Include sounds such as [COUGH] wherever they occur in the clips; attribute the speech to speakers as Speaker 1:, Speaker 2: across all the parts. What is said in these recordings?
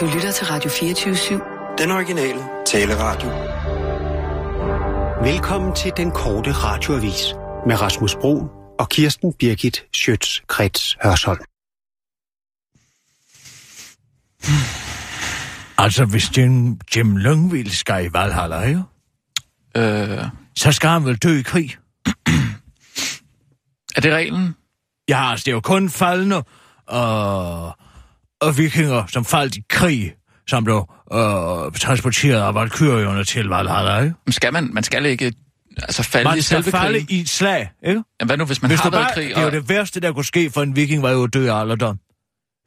Speaker 1: Du lytter til Radio 24-7.
Speaker 2: Den originale taleradio.
Speaker 3: Velkommen til den korte radioavis med Rasmus Bro og Kirsten Birgit Schøtz-Krets Hørsholm.
Speaker 4: Altså, hvis Jim, Jim Lyngvild skal i Valhalla, ikke?
Speaker 5: Øh,
Speaker 4: så skal han vel dø i krig.
Speaker 5: er det reglen?
Speaker 4: Ja, altså, det er jo kun faldende og, og vikinger, som faldt i krig, som blev øh, transporteret af valkyrierne til Valhalla, ikke?
Speaker 5: Men Skal man, man skal ikke altså falde
Speaker 4: Man
Speaker 5: i
Speaker 4: skal
Speaker 5: selve
Speaker 4: falde
Speaker 5: krigen?
Speaker 4: i et slag, ikke?
Speaker 5: Jamen, hvad nu, hvis man
Speaker 4: Hvis
Speaker 5: har
Speaker 4: du
Speaker 5: været
Speaker 4: bare,
Speaker 5: i krig?
Speaker 4: det er jo
Speaker 5: Og...
Speaker 4: det værste, der kunne ske for en viking, var jo at dø i alderdom.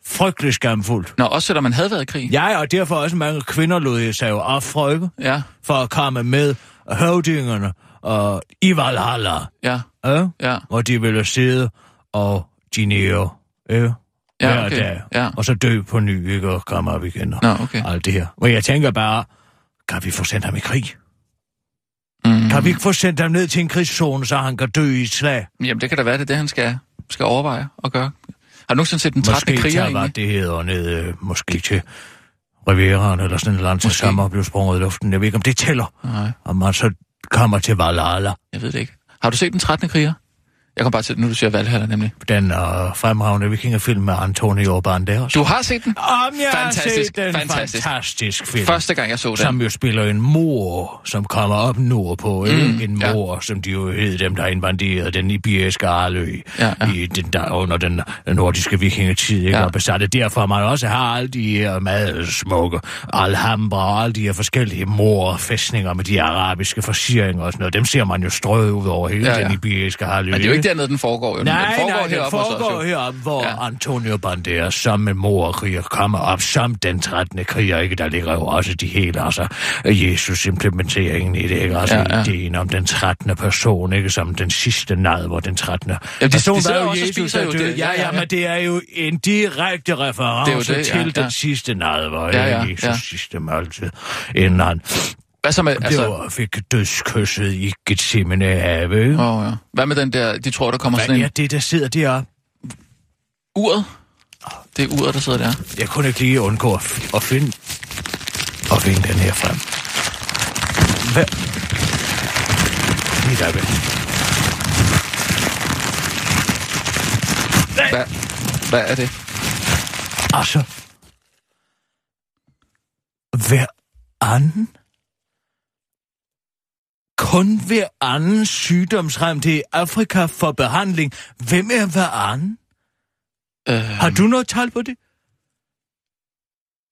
Speaker 4: Frygtelig skamfuldt.
Speaker 5: Nå, også selvom man havde været i krig?
Speaker 4: Jeg og derfor også mange kvinder lod sig jo affrøkke
Speaker 5: Ja,
Speaker 4: for at komme med høvdingerne og i Valhalla,
Speaker 5: ja,
Speaker 4: ikke?
Speaker 5: ja.
Speaker 4: hvor de ville sidde og dinere øh, ja, hver
Speaker 5: okay.
Speaker 4: dag,
Speaker 5: Ja.
Speaker 4: og så dø på ny, ikke? og komme op igen, og
Speaker 5: Nå, okay.
Speaker 4: alt det her. Og jeg tænker bare, kan vi få sendt ham i krig?
Speaker 5: Mm.
Speaker 4: Kan vi ikke få sendt ham ned til en krigszone, så han kan dø i et slag?
Speaker 5: Jamen, det kan da være, det er det, han skal, skal overveje at gøre. Har du nogensinde set den 13.
Speaker 4: Måske
Speaker 5: kriger
Speaker 4: tager, hvad
Speaker 5: egentlig?
Speaker 4: det hedder, ned, øh, måske til Rivieraen eller sådan et eller andet, til
Speaker 5: Måske.
Speaker 4: sommer blev sprunget i luften. Jeg ved ikke, om det tæller,
Speaker 5: Nej,
Speaker 4: om man så kommer til Valhalla.
Speaker 5: jeg ved det ikke. Har du set den 13. kriger? Jeg kom bare til, nu du siger Valhalla nemlig.
Speaker 4: Den øh, fremragende vikingefilm med Antonio Banderas.
Speaker 5: Du har set den?
Speaker 4: Om jeg har
Speaker 5: Fantastisk,
Speaker 4: set den
Speaker 5: fantastisk.
Speaker 4: fantastisk, fantastisk film.
Speaker 5: Første gang, jeg så den.
Speaker 4: som jo spiller en mor, som kommer op nordpå, ikke?
Speaker 5: Mm,
Speaker 4: en
Speaker 5: ja.
Speaker 4: mor, som de jo hed, dem der invaderede den iberiske arlø
Speaker 5: Ja, ja.
Speaker 4: i den der, under den nordiske vikingetid, ikke?
Speaker 5: Ja.
Speaker 4: og besatte derfor man også har alle de her meget smukke alhambra og alle de her forskellige morfæstninger med de arabiske forsieringer og sådan noget. Dem ser man jo strøget ud over hele
Speaker 5: Ja,
Speaker 4: ja,
Speaker 5: ja.
Speaker 4: ja. den iberiske arlø.
Speaker 5: Men det er jo ikke dernede, den foregår. Jo.
Speaker 4: Nej,
Speaker 5: den foregår
Speaker 4: nej, det
Speaker 5: heroppe hos os,
Speaker 4: foregår
Speaker 5: jo.
Speaker 4: heroppe, hvor
Speaker 5: Ja.
Speaker 4: ja. Antonio Banderas som en morkriger kommer op, som den 13. kriger, ikke? Der ligger jo også de hele, altså, Jesus implementeringen i det, ikke? Altså,
Speaker 5: Ja,
Speaker 4: ja,
Speaker 5: ja.
Speaker 4: ja. ideen om den 13. person, ikke? Som den sidste nad, hvor den 13.
Speaker 5: de- de
Speaker 4: person
Speaker 5: sidder
Speaker 4: var
Speaker 5: jo
Speaker 4: jo
Speaker 5: også og
Speaker 4: Jesus,
Speaker 5: spiser
Speaker 4: der
Speaker 5: jo
Speaker 4: døde.
Speaker 5: det.
Speaker 4: Ja,
Speaker 5: Ja, ja,
Speaker 4: ja,
Speaker 5: ja.
Speaker 4: men det er jo en direkte reference
Speaker 5: Det er jo det,
Speaker 4: til
Speaker 5: ja, ja.
Speaker 4: den sidste nad, hvor
Speaker 5: Ja, ja,
Speaker 4: Jesus
Speaker 5: ja.
Speaker 4: sidste måltid, inden han
Speaker 5: Hvad så med, altså...
Speaker 4: altså, fik dødskysset i Gethsemane have, ikke?
Speaker 5: Åh, ja. Hvad med den der, de tror, der kommer sådan
Speaker 4: Hvad er
Speaker 5: en...
Speaker 4: det, der sidder deroppe?
Speaker 5: Uret? Det er uret, der sidder der.
Speaker 4: Jeg kunne ikke lige undgå at, f- at finde at finde den her frem. Hvad? Lige der ved.
Speaker 5: Hvad, hvad er det?
Speaker 4: Altså. Hver anden? Kun hver anden sygdomsramt i Afrika for behandling. Hvem er hver anden?
Speaker 5: Øh,
Speaker 4: Har du noget tal på det?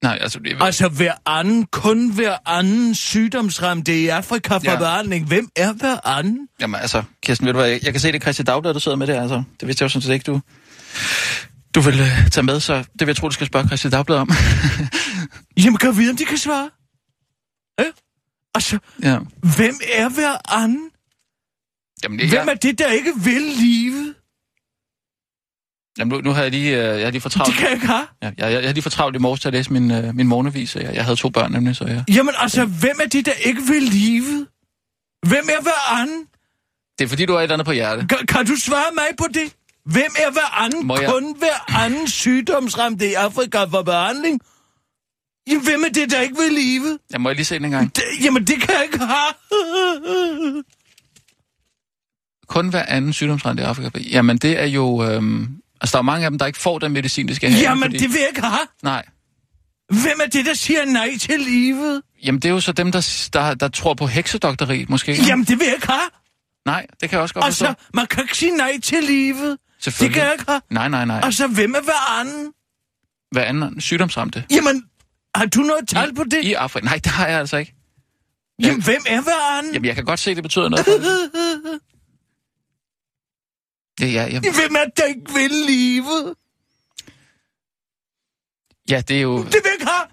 Speaker 5: nej, altså... Det,
Speaker 4: Altså hver anden, kun hver anden sygdomsramte i Afrika for
Speaker 5: Ja.
Speaker 4: ja. behandling. Hvem er hver anden?
Speaker 5: Jamen altså, Kirsten, ved du hvad, jeg, jeg kan se det er Christian Dagblad, du sidder med der, altså. Det vidste jeg jo sådan set ikke, du, du vil øh, tage med, så det vil jeg tro, du skal spørge Christian Dagblad om. [LAUGHS]
Speaker 4: Jamen, kan jeg vide, om de kan svare? Ja? Altså,
Speaker 5: ja.
Speaker 4: hvem er hver anden?
Speaker 5: Jamen,
Speaker 4: Hvem er det, der ikke vil livet?
Speaker 5: Jamen, nu, nu har jeg lige, øh, jeg har lige for
Speaker 4: De
Speaker 5: travlt.
Speaker 4: kan ikke have.
Speaker 5: Ja, jeg, jeg, jeg har lige for travlt i morges til at læse min, øh, min morgenavis. og Jeg, jeg havde to børn nemlig, så jeg...
Speaker 4: Jamen, altså, hvem er det, der ikke vil livet? Hvem er hver anden?
Speaker 5: Det er fordi, du har et eller andet på hjerte.
Speaker 4: Kan, kan du svare mig på det? Hvem er hver anden?
Speaker 5: Må jeg-
Speaker 4: Kun hver anden sygdomsramte i Afrika for behandling? Jamen, hvem er det, der ikke vil livet?
Speaker 5: Jeg må jeg lige se den en gang.
Speaker 4: Det, jamen, det kan jeg ikke have.
Speaker 5: Kun hver anden sygdomsrende i Afrika. Jamen, det er jo... Øhm, altså, der er mange af dem, der ikke får den medicin, de skal have.
Speaker 4: Jamen,
Speaker 5: fordi...
Speaker 4: det vil jeg ikke have.
Speaker 5: Nej.
Speaker 4: Hvem er det, der siger nej til livet?
Speaker 5: Jamen, det er jo så dem, der, der, der tror på heksedokteri, måske.
Speaker 4: Jamen, det vil jeg ikke have.
Speaker 5: Nej, det kan jeg også godt
Speaker 4: Altså,
Speaker 5: forstå.
Speaker 4: man kan ikke sige nej til livet. Det
Speaker 5: Selvfølgelig.
Speaker 4: kan jeg ikke have.
Speaker 5: Nej, nej, nej.
Speaker 4: Altså, hvem er hver anden?
Speaker 5: Hver anden sygdomsramte.
Speaker 4: Jamen, har du noget tal på det?
Speaker 5: I Afrika. Nej, det har jeg altså ikke.
Speaker 4: Jamen, hvem er hver anden?
Speaker 5: Jamen, jeg kan godt se, det
Speaker 4: [LAUGHS]
Speaker 5: betyder noget. For dem. ja, ja, ja.
Speaker 4: Hvem er det, der ikke vil livet?
Speaker 5: ja, det er jo...
Speaker 4: Det vil jeg ikke have.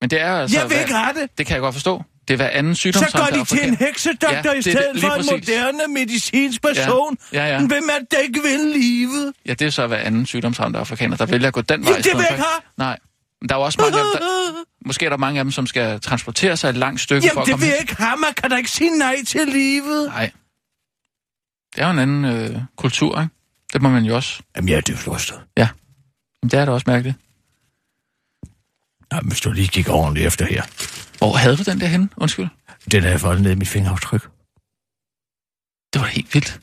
Speaker 5: Men det er jo altså...
Speaker 4: Jeg vil
Speaker 5: hver-
Speaker 4: ikke have det.
Speaker 5: Det kan jeg godt forstå. Det er hver anden
Speaker 4: Så
Speaker 5: sygdomsramt.
Speaker 4: går
Speaker 5: i
Speaker 4: de til
Speaker 5: Afrika.
Speaker 4: en heksedoktor
Speaker 5: Ja,
Speaker 4: i
Speaker 5: det er
Speaker 4: stedet
Speaker 5: det,
Speaker 4: for
Speaker 5: lige
Speaker 4: en
Speaker 5: præcis.
Speaker 4: moderne medicinsk person.
Speaker 5: Ja, ja, ja.
Speaker 4: Hvem er det, der ikke vil livet?
Speaker 5: Ja, det er så hver anden sygdomsramt afrikaner, der vælger at gå den vej.
Speaker 4: Jamen,
Speaker 5: i
Speaker 4: det
Speaker 5: stedet
Speaker 4: vil jeg
Speaker 5: for-
Speaker 4: ikke have.
Speaker 5: Nej. Men der er jo også mange af dem, der... Måske er der mange af dem, som skal transportere sig et langt stykke for
Speaker 4: Jamen,
Speaker 5: at
Speaker 4: det
Speaker 5: komme
Speaker 4: vil jeg ikke have. Man kan da ikke sige nej til livet.
Speaker 5: Nej. Det er jo en anden øh, kultur, ikke? Det må man jo også.
Speaker 4: Jamen, jeg er dybt rystet.
Speaker 5: Men det er da også mærkeligt.
Speaker 4: Nej, hvis du lige gik ordentligt efter her.
Speaker 5: Hvor havde du den der henne? Undskyld.
Speaker 4: Den er jeg fået ned i mit fingeraftryk.
Speaker 5: Det var da helt vildt.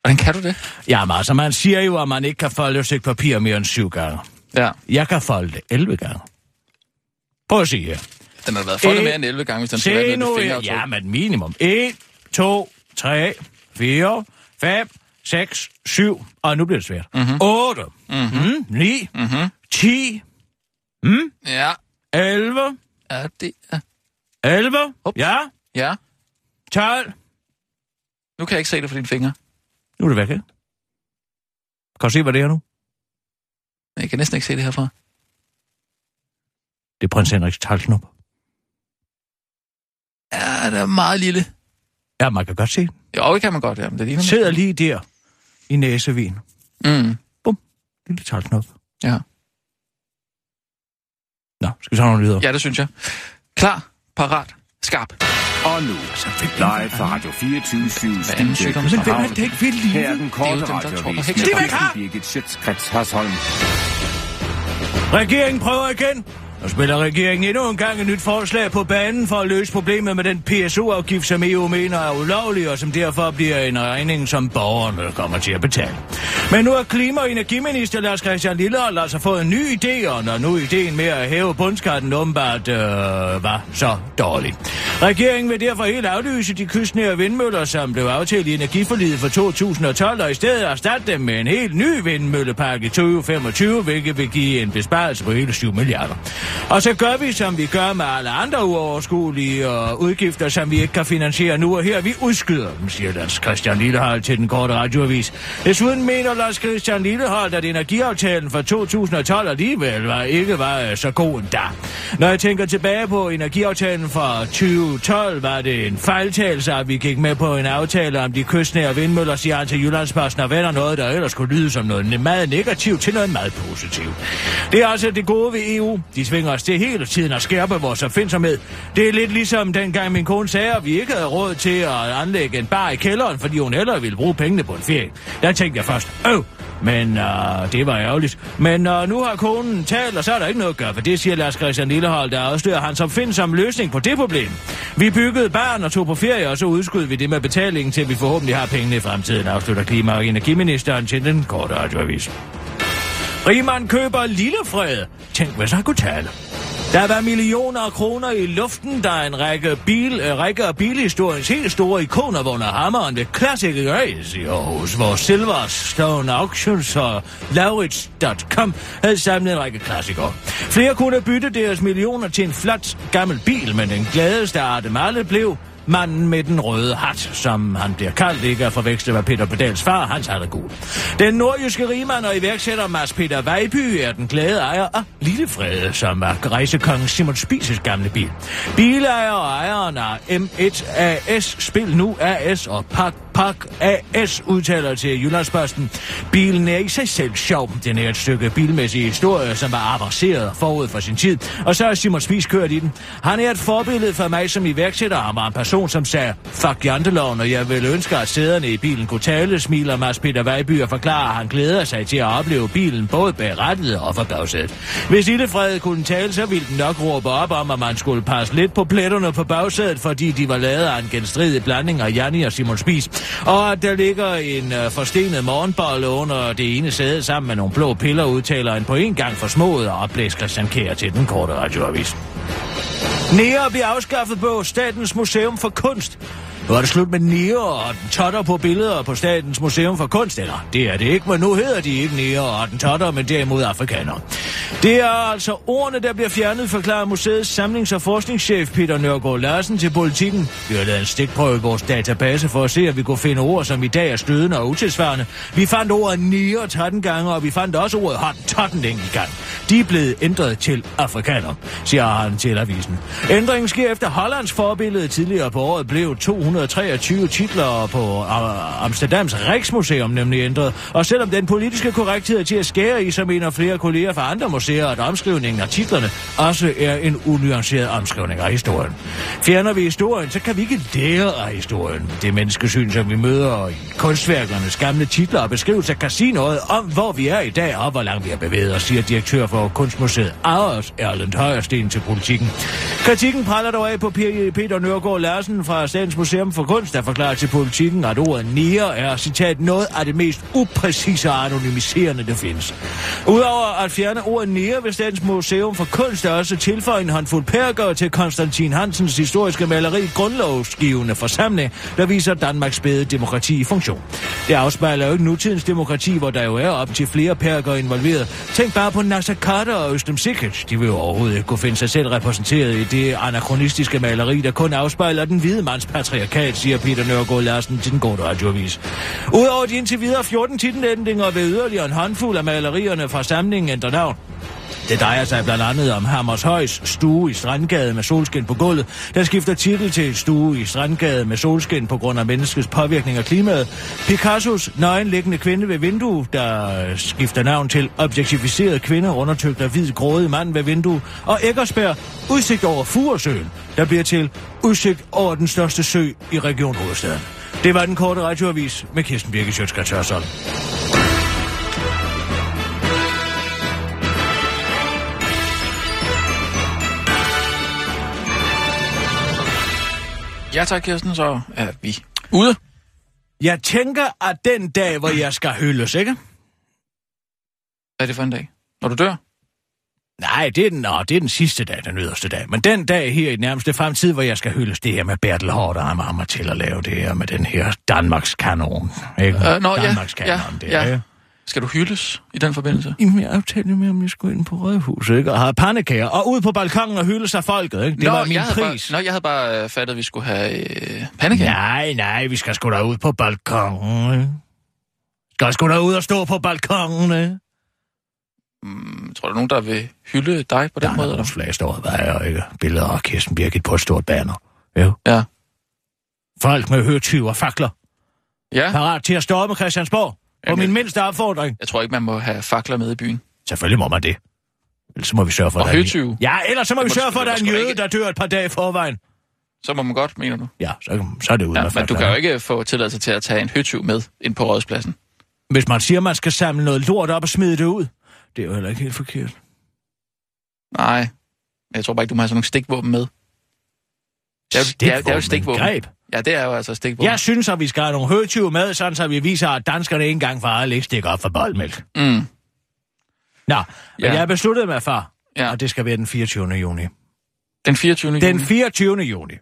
Speaker 5: Hvordan kan du det?
Speaker 4: Jamen altså, man siger jo, at man ikke kan folde et stykke papir mere end syv gange.
Speaker 5: Ja,
Speaker 4: Jeg kan folde det 11 gange. Prøv at se her.
Speaker 5: den har været fundet
Speaker 4: Øh,
Speaker 5: mere end 11 gange, hvis den skulle være
Speaker 4: Se
Speaker 5: nede
Speaker 4: nu,
Speaker 5: ved
Speaker 4: her.
Speaker 5: fingeraftryk. Ja,
Speaker 4: jamen minimum. 1, 2, 3, 4, 5, 6, 7, og nu bliver det svært.
Speaker 5: Mhm.
Speaker 4: Mhm. 8, 9, 10,
Speaker 5: ja.
Speaker 4: 11,
Speaker 5: ja det er...
Speaker 4: 11,
Speaker 5: Hop.
Speaker 4: ja,
Speaker 5: Ja,
Speaker 4: 12.
Speaker 5: nu kan jeg ikke se det for dine fingre.
Speaker 4: Nu er det væk, ikke? Kan du se, hvad det er nu?
Speaker 5: Men Jeg kan næsten ikke se det herfra.
Speaker 4: Det er prins Henriks talsnop.
Speaker 5: Ja, det er meget lille.
Speaker 4: Ja, man kan godt se den.
Speaker 5: Jo, det kan man godt, ja. Men det ligner
Speaker 4: Sidder lige der i næsevin.
Speaker 5: Mm.
Speaker 4: Lille talsnop.
Speaker 5: Ja.
Speaker 4: Nå, skal vi tage nogle nyheder?
Speaker 5: ja, det synes jeg. Klar, parat, skarp.
Speaker 6: Og nu, live fra Radio 24 7
Speaker 5: anden
Speaker 6: Studio i
Speaker 5: sygdom?
Speaker 4: Men hvem
Speaker 6: København.
Speaker 4: er det ikke vil lide?
Speaker 6: Her er den
Speaker 5: Det er
Speaker 6: korte
Speaker 5: jo dem, der tror på
Speaker 6: radiovis med
Speaker 5: hekser.
Speaker 6: Kirsten Birgit Schøtzgrads Hasholm.
Speaker 4: Regeringen prøver igen. Nu spiller regeringen endnu en gang et nyt forslag på banen for at løse problemet med den PSO-afgift, som EU mener er ulovlig, og som derfor bliver en regning, som borgerne kommer til at betale. Men nu er klima- og energiminister Lars Christian Lillehold altså fået en ny idé, og når nu ideen med at hæve bundskatten åbenbart øh, var så dårlig. Regeringen vil derfor helt aflyse de kystnære vindmøller, som blev aftalt i energiforliget for 2012, og i stedet erstatte dem med en helt ny vindmøllepakke i 2025, hvilket vil give en besparelse på hele 7 milliarder. Og så gør vi, som vi gør med alle andre uoverskuelige og udgifter, som vi ikke kan finansiere nu og her. Vi udskyder dem, siger Lars Christian Lillehold til den korte radioavis. Desuden mener Lars Christian Lillehold, at energiaftalen fra 2012 alligevel var, ikke var øh, så god endda. Når jeg tænker tilbage på energiaftalen fra 2012, var det en fejltagelse, at vi gik med på en aftale om de kystnære vindmøller, siger han til Jyllandsposten og vender noget, der ellers kunne lyde som noget ne- meget negativt til noget meget positivt. Det er altså det gode ved EU. De svinger os til hele tiden at skærpe vores opfindsomhed. Det er lidt ligesom dengang min kone sagde, at vi ikke havde råd til at anlægge en bar i kælderen, fordi hun hellere ville bruge pengene på en ferie. Der tænkte jeg først, øv, men øh, det var ærgerligt. Men øh, nu har konen talt, og så er der ikke noget at gøre, for det siger Lars Christian Lillehold, der afslører hans opfindsomme løsning på det problem. Vi byggede barn og tog på ferie, og så udskød vi det med betalingen, til vi forhåbentlig har pengene i fremtiden, afslutter klima- og energiministeren til den korte radioavis. Riemann køber Lillefred. Tænk, hvis han kunne tale. Der var millioner af kroner i luften, da en række, bil, øh, række af bilhistoriens helt store ikoner vågner hammeren ved Classic Race i Aarhus, hvor Silverstone Auctions og Laurits.com havde samlet en række klassikere. Flere kunne bytte deres millioner til en flot gammel bil, men den gladeste af dem alle blev Manden med den røde hat, som han bliver kaldt, ikke at forveksle med Peter Pedals far, hans hat er gul. Den nordjyske rigmand og iværksætter Mads Peter Vejby er den glade ejer af Lillefred, som er rejsekongen Simon Spises gamle bil. Bilejer og ejeren af M1 AS, Spil Nu AS og Pak Pak AS udtaler til Jyllandsposten. Bilen er ikke sig selv sjov. Den er et stykke bilmæssig historie, som var avanceret forud for sin tid. Og så er Simon Spies kørt i den. Han er et forbillede for mig som iværksætter. Han var en person, som sagde, fuck janteloven, og jeg vil ønske, at sæderne i bilen kunne tale, smiler Mads Peter Vejby og forklarer, at han glæder sig til at opleve bilen både bag rattet og for bagsædet. Hvis Illefred kunne tale, så ville den nok råbe op om, at man skulle passe lidt på pletterne på bagsædet, fordi de var lavet af en genstridig blanding af Janni og Simon Spis. Og at der ligger en øh, forstenet morgenbolle under det ene sæde sammen med nogle blå piller, udtaler en på en gang forsmået og oplæst Christian Kjær til den korte radioavis. Nære bliver afskaffet på Statens Museum for Kunst. Nu er det slut med nære og den totter på billeder på Statens Museum for Kunst, eller det er det ikke, men nu hedder de ikke nære og den totter, men derimod afrikanere. Det er altså ordene, der bliver fjernet, forklarer museets samlings- og forskningschef Peter Nørgaard Larsen til politikken. Vi har lavet en stikprøve i vores database for at se, at vi kunne finde ord, som i dag er stødende og utilsvarende. Vi fandt ordet nære 13 gange, og vi fandt også ordet hot 13 en enkelt gang. De er blevet ændret til afrikaner, siger han til avisen. Ændringen sker efter Hollands forbillede tidligere på året blev 223 titler på øh, Amsterdams Rijksmuseum nemlig ændret. Og selvom den politiske korrekthed er til at skære i, så mener flere kolleger fra andre museer, at omskrivningen af titlerne også er en unuanceret omskrivning af historien. Fjerner vi historien, så kan vi ikke lære af historien. Det menneskesyn, som vi møder i kunstværkernes gamle titler og beskrivelser, kan sige noget om, hvor vi er i dag og hvor langt vi har bevæget os, siger direktør for Frederiksborg Kunstmuseet Aros Erlend Højersten til politikken. Kritikken praller dog af på P- Peter Nørgaard Larsen fra Statens Museum for Kunst, der forklarer til politikken, at ordet nier er, citat, noget af det mest upræcise og anonymiserende, der findes. Udover at fjerne ordet nier vil Statens Museum for Kunst også tilføje en håndfuld perker til Konstantin Hansens historiske maleri Grundlovsgivende Forsamling, der viser Danmarks spæde demokrati i funktion. Det afspejler jo ikke nutidens demokrati, hvor der jo er op til flere perker involveret. Tænk bare på Nasser Carter og Østem Sikic. De vil jo overhovedet ikke kunne finde sig selv repræsenteret i det anachronistiske maleri, der kun afspejler den hvide mands patriarkat, siger Peter Nørgaard Larsen til den gode radioavis. Udover de indtil videre 14 titelændringer ved yderligere en håndfuld af malerierne fra samlingen ændrer navn. Det drejer sig blandt andet om Hammershøjs stue i Strandgade med solskin på gulvet, der skifter titel til stue i Strandgade med solskin på grund af menneskets påvirkning af klimaet. Picassos nøgenliggende kvinde ved vindue, der skifter navn til objektiviseret kvinde undertøgt af hvid grådig mand ved vindue. Og Eggersberg, udsigt over Furesøen, der bliver til udsigt over den største sø i Region Hovedstaden. Det var den korte radioavis med Kirsten Birke Sjøtskrets Hørsholm.
Speaker 5: Ja tak, Kirsten, så er vi ude.
Speaker 4: Jeg tænker, at den dag, hvor jeg skal hyldes, ikke?
Speaker 5: Hvad er det for en dag? Når du dør?
Speaker 4: Nej, det er, den, nå, det er den sidste dag, den yderste dag. Men den dag her i den nærmeste fremtid, hvor jeg skal hyldes det her med Bertel Hård og ham, og ham til at lave det her med den her Danmarks kanon. Ikke?
Speaker 5: Øh, nå, ja,
Speaker 4: Danmarks kanon,
Speaker 5: ja,
Speaker 4: det er,
Speaker 5: ja.
Speaker 4: ikke?
Speaker 5: Skal du hyldes i den forbindelse?
Speaker 4: Jamen, jeg aftalte med, om jeg skulle ind på Rødhuset, ikke? Og have pandekager, og ud på balkongen og hylde sig folket, ikke? Det var min
Speaker 5: jeg havde
Speaker 4: pris.
Speaker 5: Bare, nå, jeg havde bare øh, fattet, at vi skulle have øh, pandekager.
Speaker 4: Nej, nej, vi skal sgu da ud på balkongen, ikke? Skal sgu da ud og stå på balkongen, ikke?
Speaker 5: Mm, tror du, nogen, der vil hylde dig på den
Speaker 4: Der er
Speaker 5: måde?
Speaker 4: nogle flag, står og vejer, ikke? Billeder af Kirsten Birgit på et stort banner. Jo.
Speaker 5: Ja.
Speaker 4: Folk med høtyve og fakler.
Speaker 5: Ja,
Speaker 4: Parat til at storme Christiansborg. På
Speaker 5: Jamen,
Speaker 4: min mindste opfordring.
Speaker 5: jeg tror ikke, man må have fakler med i byen.
Speaker 4: Selvfølgelig må man det. Ellers så må vi sørge for,
Speaker 5: Og
Speaker 4: at der er en-
Speaker 5: høtyve.
Speaker 4: Ja, ellers så må
Speaker 5: Det
Speaker 4: vi
Speaker 5: må-
Speaker 4: sørge for, at
Speaker 5: det
Speaker 4: der er en
Speaker 5: må sgu da
Speaker 4: jøde,
Speaker 5: ikke.
Speaker 4: der dør et par dage i forvejen.
Speaker 5: Så må man godt, mener du?
Speaker 4: Ja, så, så er det uden
Speaker 5: Ja,
Speaker 4: at
Speaker 5: men du
Speaker 4: fakler,
Speaker 5: kan jo ikke få tilladelse til at tage en høtyv med ind på rådspladsen.
Speaker 4: Hvis man siger, man skal samle noget lort op og smide det ud, det er jo heller ikke helt forkert.
Speaker 5: Nej, men jeg tror bare ikke, du må have sådan nogle stikvåben med. Det er, jo- det er, det er jo et stikvåben.
Speaker 4: Greb.
Speaker 5: Ja, det er jo altså et stikvåben.
Speaker 4: Jeg synes, at vi skal have nogle høtyve med, sådan så vi viser, at danskerne ikke engang for alle ikke stikker op for boldmælk.
Speaker 5: Mm.
Speaker 4: Nå, men
Speaker 5: Ja.
Speaker 4: ja. jeg har besluttet mig for,
Speaker 5: Ja.
Speaker 4: ja. og det skal være den 24. juni.
Speaker 5: Den 24.
Speaker 4: Den
Speaker 5: juni.
Speaker 4: 24. juni.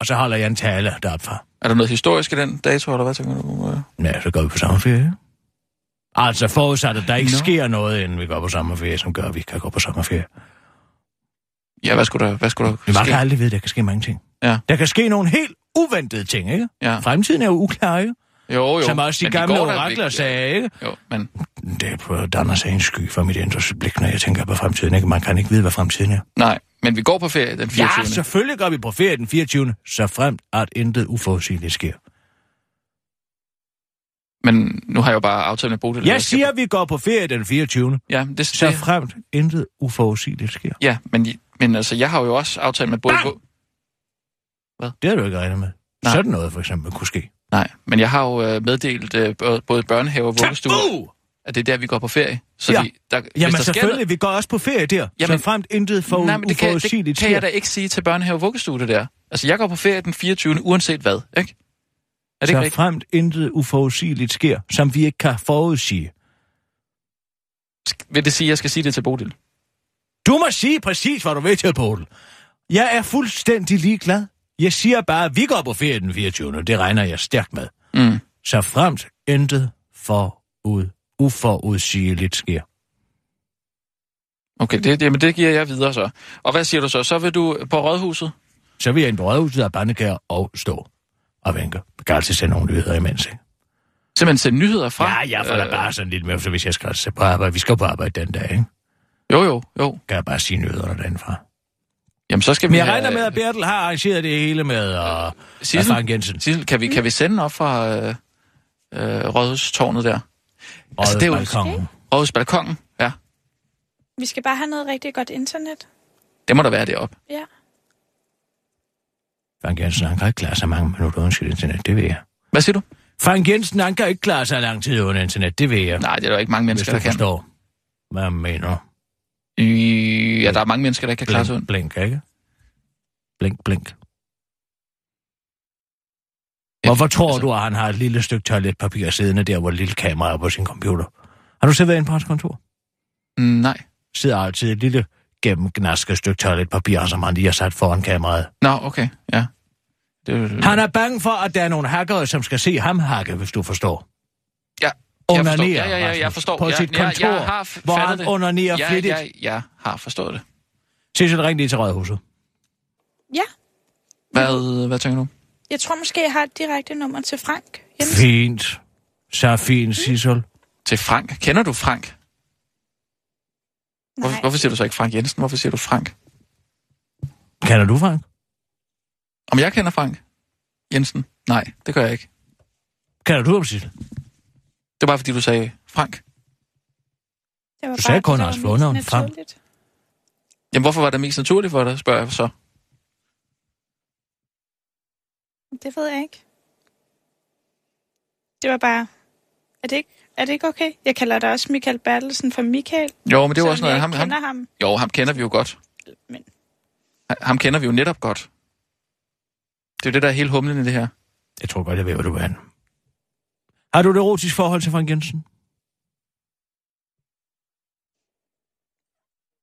Speaker 4: Og så holder jeg en tale deroppe fra.
Speaker 5: Er der noget historisk i den dato, eller hvad tænker du? øh?
Speaker 4: Ja, så går vi på sommerferie. Altså forudsat, at der ikke
Speaker 5: Nå.
Speaker 4: no. sker noget, inden vi går på sommerferie, som gør, at vi ikke kan gå på sommerferie.
Speaker 5: Ja, hvad skulle der, hvad skulle der
Speaker 4: Men man
Speaker 5: ske?
Speaker 4: kan aldrig vide, at der kan ske mange ting.
Speaker 5: Ja.
Speaker 4: Der kan ske nogle helt uventede ting, ikke?
Speaker 5: Ja.
Speaker 4: Fremtiden er jo uklar, ikke?
Speaker 5: Jo, jo.
Speaker 4: Som også de
Speaker 5: men det
Speaker 4: gamle
Speaker 5: går da
Speaker 4: orakler
Speaker 5: ikke.
Speaker 4: sagde, ikke?
Speaker 5: Jo, men
Speaker 4: Det prøver danner sig en sky for mit indre blik, når jeg tænker på fremtiden, ikke? Man kan ikke vide, hvad fremtiden er.
Speaker 5: nej. Men vi går på ferie den 24.
Speaker 4: Ja, selvfølgelig går vi på ferie den 24. Så fremt, at intet uforudsigeligt sker.
Speaker 5: Men nu har jeg jo bare aftalt med Bodil.
Speaker 4: Jeg siger, at vi går på ferie den 24.
Speaker 5: Ja, det,
Speaker 4: Så
Speaker 5: det,
Speaker 4: fremt intet uforudsigeligt sker.
Speaker 5: ja men, men altså, jeg har jo også aftalt med Bodil.
Speaker 4: Bang! Det har du ikke regnet med.
Speaker 5: Nej.
Speaker 4: Nej. Sådan noget for eksempel kunne ske.
Speaker 5: Nej, men jeg har jo øh, meddelt øh, bå- både børnehave og vuggestue,
Speaker 4: Tabu!
Speaker 5: at det er der, vi går på ferie. Så
Speaker 4: Ja.
Speaker 5: de, der, hvis
Speaker 4: Jamen
Speaker 5: der sker
Speaker 4: selvfølgelig, vi går også på ferie der.
Speaker 5: Jamen-
Speaker 4: Jamen, så fremt intet for
Speaker 5: noget- Nej, men det kan, det
Speaker 4: uforudsigeligt
Speaker 5: kan jeg da
Speaker 4: sker.
Speaker 5: ikke sige til børnehave og vuggestue, det der. Altså, jeg går på ferie den 24. uanset hvad, ikke? Er det ikke
Speaker 4: Så
Speaker 5: rigtigt?
Speaker 4: fremt intet uforudsigeligt sker, som vi ikke kan forudsige.
Speaker 5: Sk- Vil det sige, at jeg skal sige det til Bodil?
Speaker 4: Du må sige præcis, hvad du vil til, Poul. Jeg er fuldstændig ligeglad. Jeg siger bare, at vi går på ferie den 24. Det regner jeg stærkt med.
Speaker 5: Mm.
Speaker 4: Så fremt intet forud, uforudsigeligt sker.
Speaker 5: Okay, det, jamen, det giver jeg videre så. Og hvad siger du så? Så vil du på rådhuset?
Speaker 4: Så vil jeg ind på rådhuset af bandekær og stå og vinke. Jeg kan altid sende nogle nyheder imens, ikke?
Speaker 5: Simpelthen sende nyheder fra?
Speaker 4: Ja, jeg får da
Speaker 5: Øh,
Speaker 4: bare sådan lidt med, så hvis jeg skal se på arbejde. Vi skal på arbejde den dag, ikke?
Speaker 5: Jo, jo, jo.
Speaker 4: Kan jeg bare sige Øh, nyhederne derindfra.
Speaker 5: Jamen, så skal vi
Speaker 4: Men jeg
Speaker 5: have-
Speaker 4: regner med, at Bertel har arrangeret det hele med og
Speaker 5: Sissel?
Speaker 4: Frank Jensen.
Speaker 5: Sissel, kan vi, kan vi sende op fra øh, øh, rådhustårnet der? Altså, det er jo-
Speaker 4: balkongen.
Speaker 5: Rådhusbalkongen? Ja,
Speaker 7: Vi skal bare have noget rigtig godt internet.
Speaker 5: det må der være deroppe.
Speaker 7: Ja.
Speaker 4: Frank Jensen, han kan ikke klare sig mange minutter uden sit internet, det ved jeg.
Speaker 5: Hvad siger du?
Speaker 4: Frank Jensen, han kan ikke klare sig lang tid uden internet, det ved jeg.
Speaker 5: Nej, det er der ikke mange
Speaker 4: hvis
Speaker 5: mennesker,
Speaker 4: du
Speaker 5: der kan.
Speaker 4: forstår, hvad jeg mener.
Speaker 5: Øh, Ja, der er mange mennesker, der ikke kan klare sig
Speaker 4: Blink,
Speaker 5: uden.
Speaker 4: blink, ikke? Blink, blink. Hvorfor tror
Speaker 5: altså-
Speaker 4: altså... du, at han har et lille stykke toiletpapir siddende der, hvor et lille kamera er på sin computer? Har du så været inde på hans kontor?
Speaker 5: Mm, Nej.
Speaker 4: Sidder altid et lille gennemgnasket stykke toiletpapir, som han lige har sat foran kameraet.
Speaker 5: Nå, okay, ja. Det, er-
Speaker 4: Han er bange for, at der er nogle hackere, som skal se ham hakke, hvis du forstår.
Speaker 5: Ja, jeg
Speaker 4: Onanerer,
Speaker 5: forstår. Ja, ja, ja, jeg
Speaker 4: Rasmus,
Speaker 5: forstår.
Speaker 4: På
Speaker 5: ja,
Speaker 4: sit
Speaker 5: ja,
Speaker 4: kontor,
Speaker 5: jeg har f-
Speaker 4: hvor
Speaker 5: fattet
Speaker 4: han
Speaker 5: det.
Speaker 4: onanerer
Speaker 5: ja,
Speaker 4: flittigt.
Speaker 5: Ja, jeg har forstået det.
Speaker 4: Sissel, ring lige til Rødhuset.
Speaker 7: Ja,
Speaker 5: Hvad, hvad tænker du?
Speaker 7: jeg tror måske, jeg har et direkte nummer til Frank. Jensen.
Speaker 4: Fint. Så fint, Sissel.
Speaker 5: Til Frank. Kender du Frank? Hvor,
Speaker 7: Nej,
Speaker 5: hvorfor siger du så ikke Frank Jensen? Hvorfor siger du Frank?
Speaker 4: Kender du, Frank?
Speaker 5: Om jeg kender Frank Jensen? Nej, det gør jeg ikke.
Speaker 4: Kender du om Sissel?
Speaker 5: Det var bare, fordi du sagde Frank.
Speaker 7: det var
Speaker 4: du sagde
Speaker 7: bare-
Speaker 4: kun
Speaker 7: det var
Speaker 4: Lars
Speaker 7: mest
Speaker 4: Lunde om Frank.
Speaker 7: naturligt.
Speaker 5: Jamen, hvorfor var det mest naturligt for dig, spørger jeg så.
Speaker 7: Det ved jeg ikke. Det var bare... Er det ikke, er det ikke okay? Jeg kalder dig også Michael Bertelsen for Michael.
Speaker 5: Jo, men det var også
Speaker 7: selvom
Speaker 5: noget...
Speaker 7: jeg
Speaker 5: Ham,
Speaker 7: ikke
Speaker 5: ham,
Speaker 7: kender ham.
Speaker 5: jo, ham kender vi jo godt.
Speaker 7: Men
Speaker 5: Ha- Ham kender vi jo netop godt. Det er jo det, der er hele humlen i det her.
Speaker 4: Jeg tror godt, jeg ved, hvad du vil have. Har du et erotisk forhold til Frank Jensen?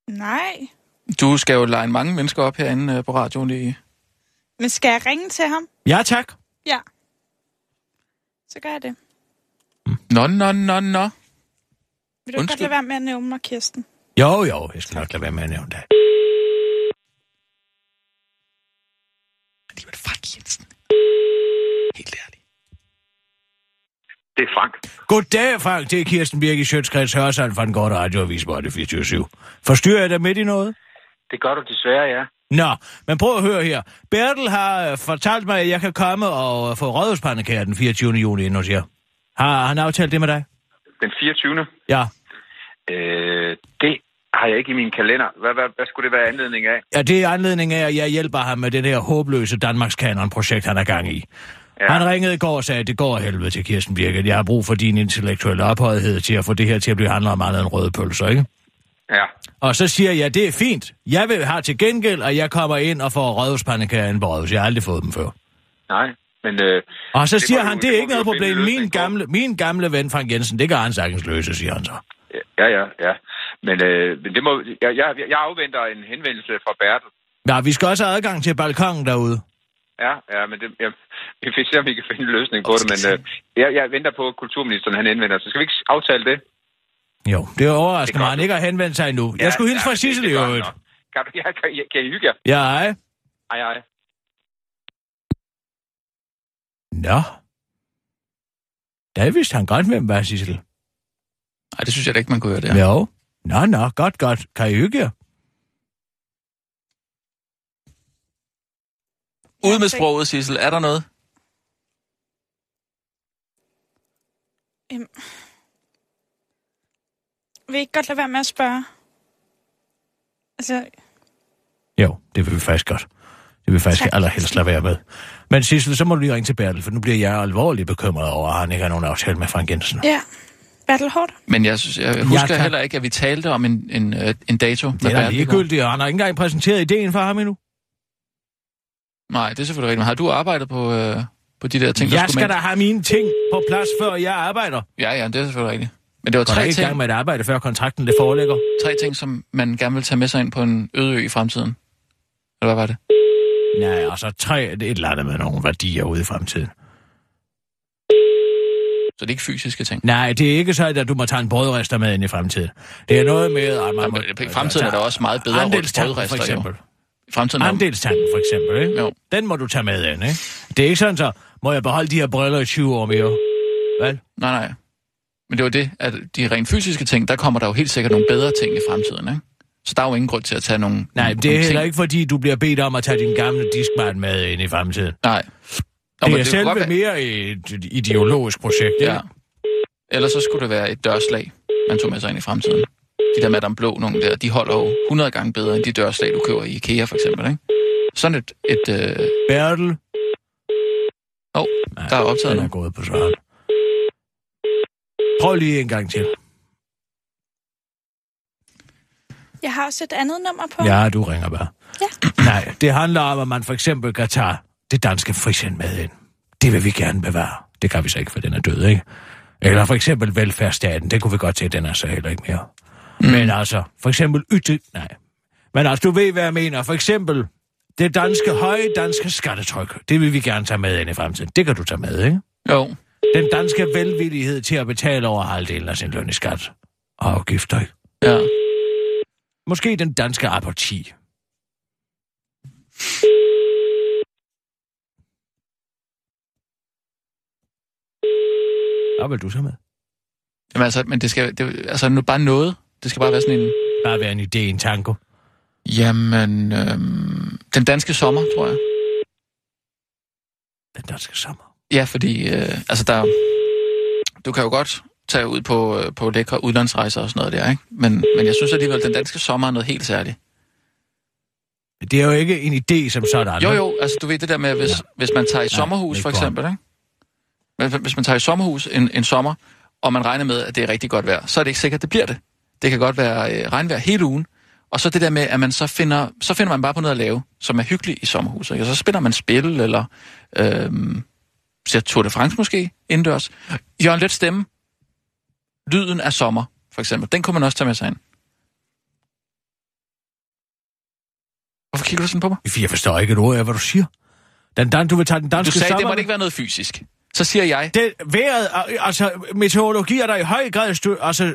Speaker 7: nej.
Speaker 5: Du skal jo line mange mennesker op herinde øh, på radioen i...
Speaker 7: Men skal jeg ringe til ham?
Speaker 4: Ja, tak.
Speaker 7: Ja. Så gør jeg det.
Speaker 5: Nå, nå, nå, nå.
Speaker 7: Vil du Undskyld.
Speaker 5: Undskyld.
Speaker 7: godt lade være med at nævne mig, Kirsten?
Speaker 4: Jo, jo, jeg skal nok lade være med at nævne det.
Speaker 5: Alligevel Frank Jensen. Helt ærligt.
Speaker 8: Det er Frank.
Speaker 4: Goddag, Frank. Det er Kirsten Birk i Sjøtskreds Hørsand fra den gode radioavis på 24 Forstyrrer jeg dig midt i noget?
Speaker 8: Det gør du desværre, ja.
Speaker 4: Nå, men prøv at høre her. Bertel har øh, fortalt mig, at jeg kan komme og øh, få rådhuspandekager den 24. juni ind hos jer. Har han aftalt det med dig?
Speaker 8: Den 24.
Speaker 4: Ja.
Speaker 8: Øh, det har jeg ikke i min kalender. Hvad, hvad, hvad skulle det være anledning af?
Speaker 4: Ja, det er anledning af, at jeg hjælper ham med det der håbløse Danmarks Kanon-projekt, han er gang i. Ja. Han ringede i går og sagde, at det går af helvede til Kirsten Birgit. Jeg har brug for din intellektuelle ophøjethed til at få det her til at blive handlet om andet end røde pølser, ikke?
Speaker 8: Ja.
Speaker 4: Og så siger jeg, det er fint. Jeg vil have til gengæld, at jeg kommer ind og får rødhuspandekager ind på rødhus. Jeg har aldrig fået dem før.
Speaker 8: Nej, men øh,
Speaker 4: Og så
Speaker 8: Det
Speaker 4: siger
Speaker 8: må
Speaker 4: han, det
Speaker 8: vi- det
Speaker 4: er
Speaker 8: må
Speaker 4: ikke
Speaker 8: vi
Speaker 4: noget
Speaker 8: jo finde en
Speaker 4: problem. Min
Speaker 8: løsning på."
Speaker 4: gamle, min gamle ven Frank Jensen, det kan han sagtens løse, siger han så.
Speaker 8: ja, ja, ja. Men, øh, men det må, jeg, jeg, jeg afventer en henvendelse fra Bertel.
Speaker 4: Ja, vi skal også have adgang til balkongen derude.
Speaker 8: Ja, ja, men det, jeg, vi får se, om vi kan finde en løsning på det, men øh, jeg, jeg venter på, at kulturministeren han henvender sig. Skal vi ikke aftale det?
Speaker 4: Jo, det overrasker
Speaker 8: Det gør
Speaker 4: mig, han
Speaker 8: du.
Speaker 4: ikke har henvendt sig endnu. Jeg skulle hilse fra
Speaker 8: det-
Speaker 4: Sissel i
Speaker 8: det er godt
Speaker 4: øvrigt.
Speaker 8: nok. Kan, du, ja, kan, I- kan I hygge jer?
Speaker 4: Ja, ej.
Speaker 8: Ej, ej.
Speaker 4: Nå. Der vidste han godt, hvem var Sissel.
Speaker 5: Nej, det synes jeg da ikke, man kunne høre der.
Speaker 4: Ja. Jo. Nå, nå, godt, godt. Kan I hygge jer?
Speaker 5: Ud med sproget, Sissel. Er der noget?
Speaker 7: Øhm. Vil I ikke godt lade være med at spørge? Altså,
Speaker 4: Jo, det vil vi faktisk godt. Det vil vi faktisk
Speaker 7: Tak.
Speaker 4: allerhelst lade være med. Men Sissel, så må du lige ringe til Bertel, for nu bliver jeg alvorligt bekymret over, at han ikke har nogen aftale med Frank Jensen.
Speaker 7: ja. Bertel Hård,
Speaker 5: Men jeg, synes, jeg husker
Speaker 4: tak.
Speaker 5: heller ikke, at vi talte om en, en, øh, en dato. med
Speaker 4: Det er da
Speaker 5: Bertel i går.
Speaker 4: ligegyldigt, og han har ikke engang præsenteret ideen for ham endnu.
Speaker 5: Nej, det er selvfølgelig rigtigt. Men har du arbejdet på, øh, på de der ting, der
Speaker 4: Jeg
Speaker 5: skulle
Speaker 4: skal
Speaker 5: med?
Speaker 4: da have mine ting på plads, før jeg arbejder.
Speaker 5: Ja, ja, det er selvfølgelig rigtigt. Men det var
Speaker 4: Og tre
Speaker 5: tre
Speaker 4: ikke i gang
Speaker 5: ting,
Speaker 4: med et arbejde, før kontrakten det foreligger.
Speaker 5: tre ting, som man gerne vil tage med sig ind på en øde ø i fremtiden. Eller hvad var det?
Speaker 4: Nej, og så tre, det er et eller andet med nogle værdier ude i fremtiden.
Speaker 5: Så det er ikke fysiske ting.
Speaker 4: Nej, det er ikke så, at du må tage en brødrester med ind i fremtiden. Det er noget med, at man må...
Speaker 5: Jamen, i fremtiden er der også meget bedre rundt
Speaker 4: Andelstanken,
Speaker 5: brødrester,
Speaker 4: for
Speaker 5: jo.
Speaker 4: eksempel.
Speaker 5: I fremtiden er
Speaker 4: Andelstanken, for eksempel, ikke?
Speaker 5: Jo.
Speaker 4: Den må du tage med ind, ikke? Det er ikke sådan, så må jeg beholde de her briller i 20 år mere. Vel?
Speaker 5: Nej, nej. Men det var det, at de rent fysiske ting, der kommer der jo helt sikkert nogle bedre ting i fremtiden, ikke? Så der er jo ingen grund til at tage nogle
Speaker 4: Nej,
Speaker 5: nogle
Speaker 4: det er
Speaker 5: ting.
Speaker 4: heller ikke, fordi du bliver bedt om at tage din gamle diskmand med ind i fremtiden.
Speaker 5: Nej. Nå, men
Speaker 4: Det er
Speaker 5: kunne godt
Speaker 4: selve
Speaker 5: være-
Speaker 4: mere et ideologisk projekt, ikke?
Speaker 5: Ja. Ellers så skulle det være et dørslag, man tog med sig ind i fremtiden. De der Madame Blå, nogle der, de holder jo 100 gange bedre end de dørslag, du køber i IKEA for eksempel, ikke? Sådan et... et øh...
Speaker 4: Bertel,
Speaker 5: oh, der er optaget
Speaker 4: Den er
Speaker 5: nu.
Speaker 4: gået på svaren. Prøv lige en gang til.
Speaker 7: Jeg har også et andet nummer på.
Speaker 4: Ja, du ringer bare.
Speaker 7: Ja.
Speaker 4: Nej, det handler om, at man for eksempel kan tage det danske frisind med ind. Det vil vi gerne bevare. Det kan vi så ikke, for den er død, ikke? Eller for eksempel velfærdsstaten. Det kunne vi godt se, den er så heller ikke mere. Mm. Men altså, for eksempel ytte... Nej. Men altså, du ved, hvad jeg mener. For eksempel det danske høje danske skattetryk. Det vil vi gerne tage med ind i fremtiden. Det kan du tage med, ikke?
Speaker 5: Jo,
Speaker 4: Den danske velvillighed til at betale over halvdelen af sin løn i skat og afgifter, ikke?
Speaker 5: ja.
Speaker 4: Måske den danske apati. Hvad vil du så med?
Speaker 5: Jamen, altså, men det skal det, altså, nu bare noget. Det skal bare være sådan en...
Speaker 4: Bare være en idé, en tango.
Speaker 5: Jamen, øhm, den danske sommer, tror jeg.
Speaker 4: Den danske sommer.
Speaker 5: Ja, fordi øh, altså der, du kan jo godt tage ud på, øh, på lækre udlandsrejser og sådan noget der, ikke? Men, men jeg synes alligevel, at den danske sommer er noget helt særligt.
Speaker 4: Men Det er jo ikke en idé som sådan.
Speaker 5: Jo, jo, altså du ved det der med, hvis, ja. hvis man tager i sommerhus
Speaker 4: det er
Speaker 5: for
Speaker 4: godt.
Speaker 5: eksempel, ikke? Men Hvis man tager i sommerhus en, en sommer, og man regner med, at det er rigtig godt vejr, så er det ikke sikkert, det bliver det. Det kan godt være øh, regnvejr hele ugen, og så det der med, at man så finder, så finder man bare på noget at lave, som er hyggeligt i sommerhuset. Ikke? Og så spiller man spil, eller øh, ser Tour de France måske indendørs. Jørgen Let stemme. Lyden af sommer, for eksempel. Den kunne man også tage med sig ind. Hvorfor kigger du sådan på mig?
Speaker 4: jo. Jeg forstår ikke et ord af, hvad du siger. Den dan, du vil tage den danske
Speaker 5: Du sagde,
Speaker 4: sommer...
Speaker 5: det måtte ikke være noget fysisk. Så siger jeg,
Speaker 4: det, vejret, øh, altså meteorologi er der i høj grad stø, altså, øh,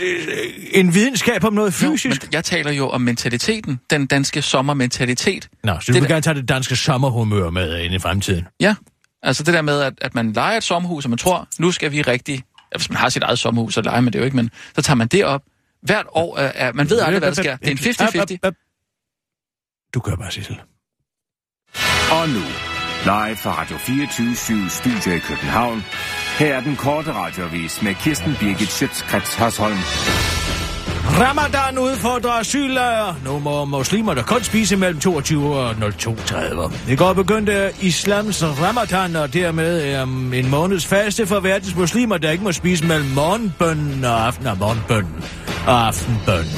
Speaker 4: det- en videnskab om noget
Speaker 5: jo,
Speaker 4: fysisk. Jo,
Speaker 5: men jeg taler jo om mentaliteten, den danske sommermentalitet.
Speaker 4: men... Nå, så du
Speaker 5: det
Speaker 4: vil
Speaker 5: der-
Speaker 4: gerne tage det danske sommerhumør med ind i fremtiden.
Speaker 5: Ja, altså det der med, at, at man leger et sommerhus, og man tror, nu skal vi rigtig... Ja, Hvis man har sit eget sommerhus, så leger man det jo ikke, men så tager man det op. Hvert år, øh, er, man ved aldrig, hvad der sker. Det er en 50-50.
Speaker 4: Du kører bare, Sissel.
Speaker 6: Og nu, live fra Radio 24 Studio i København. Her er den korte radiovis med Kirsten Birgit Schøtzgrads Hasholm.
Speaker 4: Ramadan udfordrer asyllejre. Nu må muslimer der kun spise mellem 22 og 02.30. I går begyndte islams ramadan, og dermed um, en måneds faste for verdens muslimer, der ikke må spise mellem morgenbønnen og aften og morgenbønnen og aftenbønnen.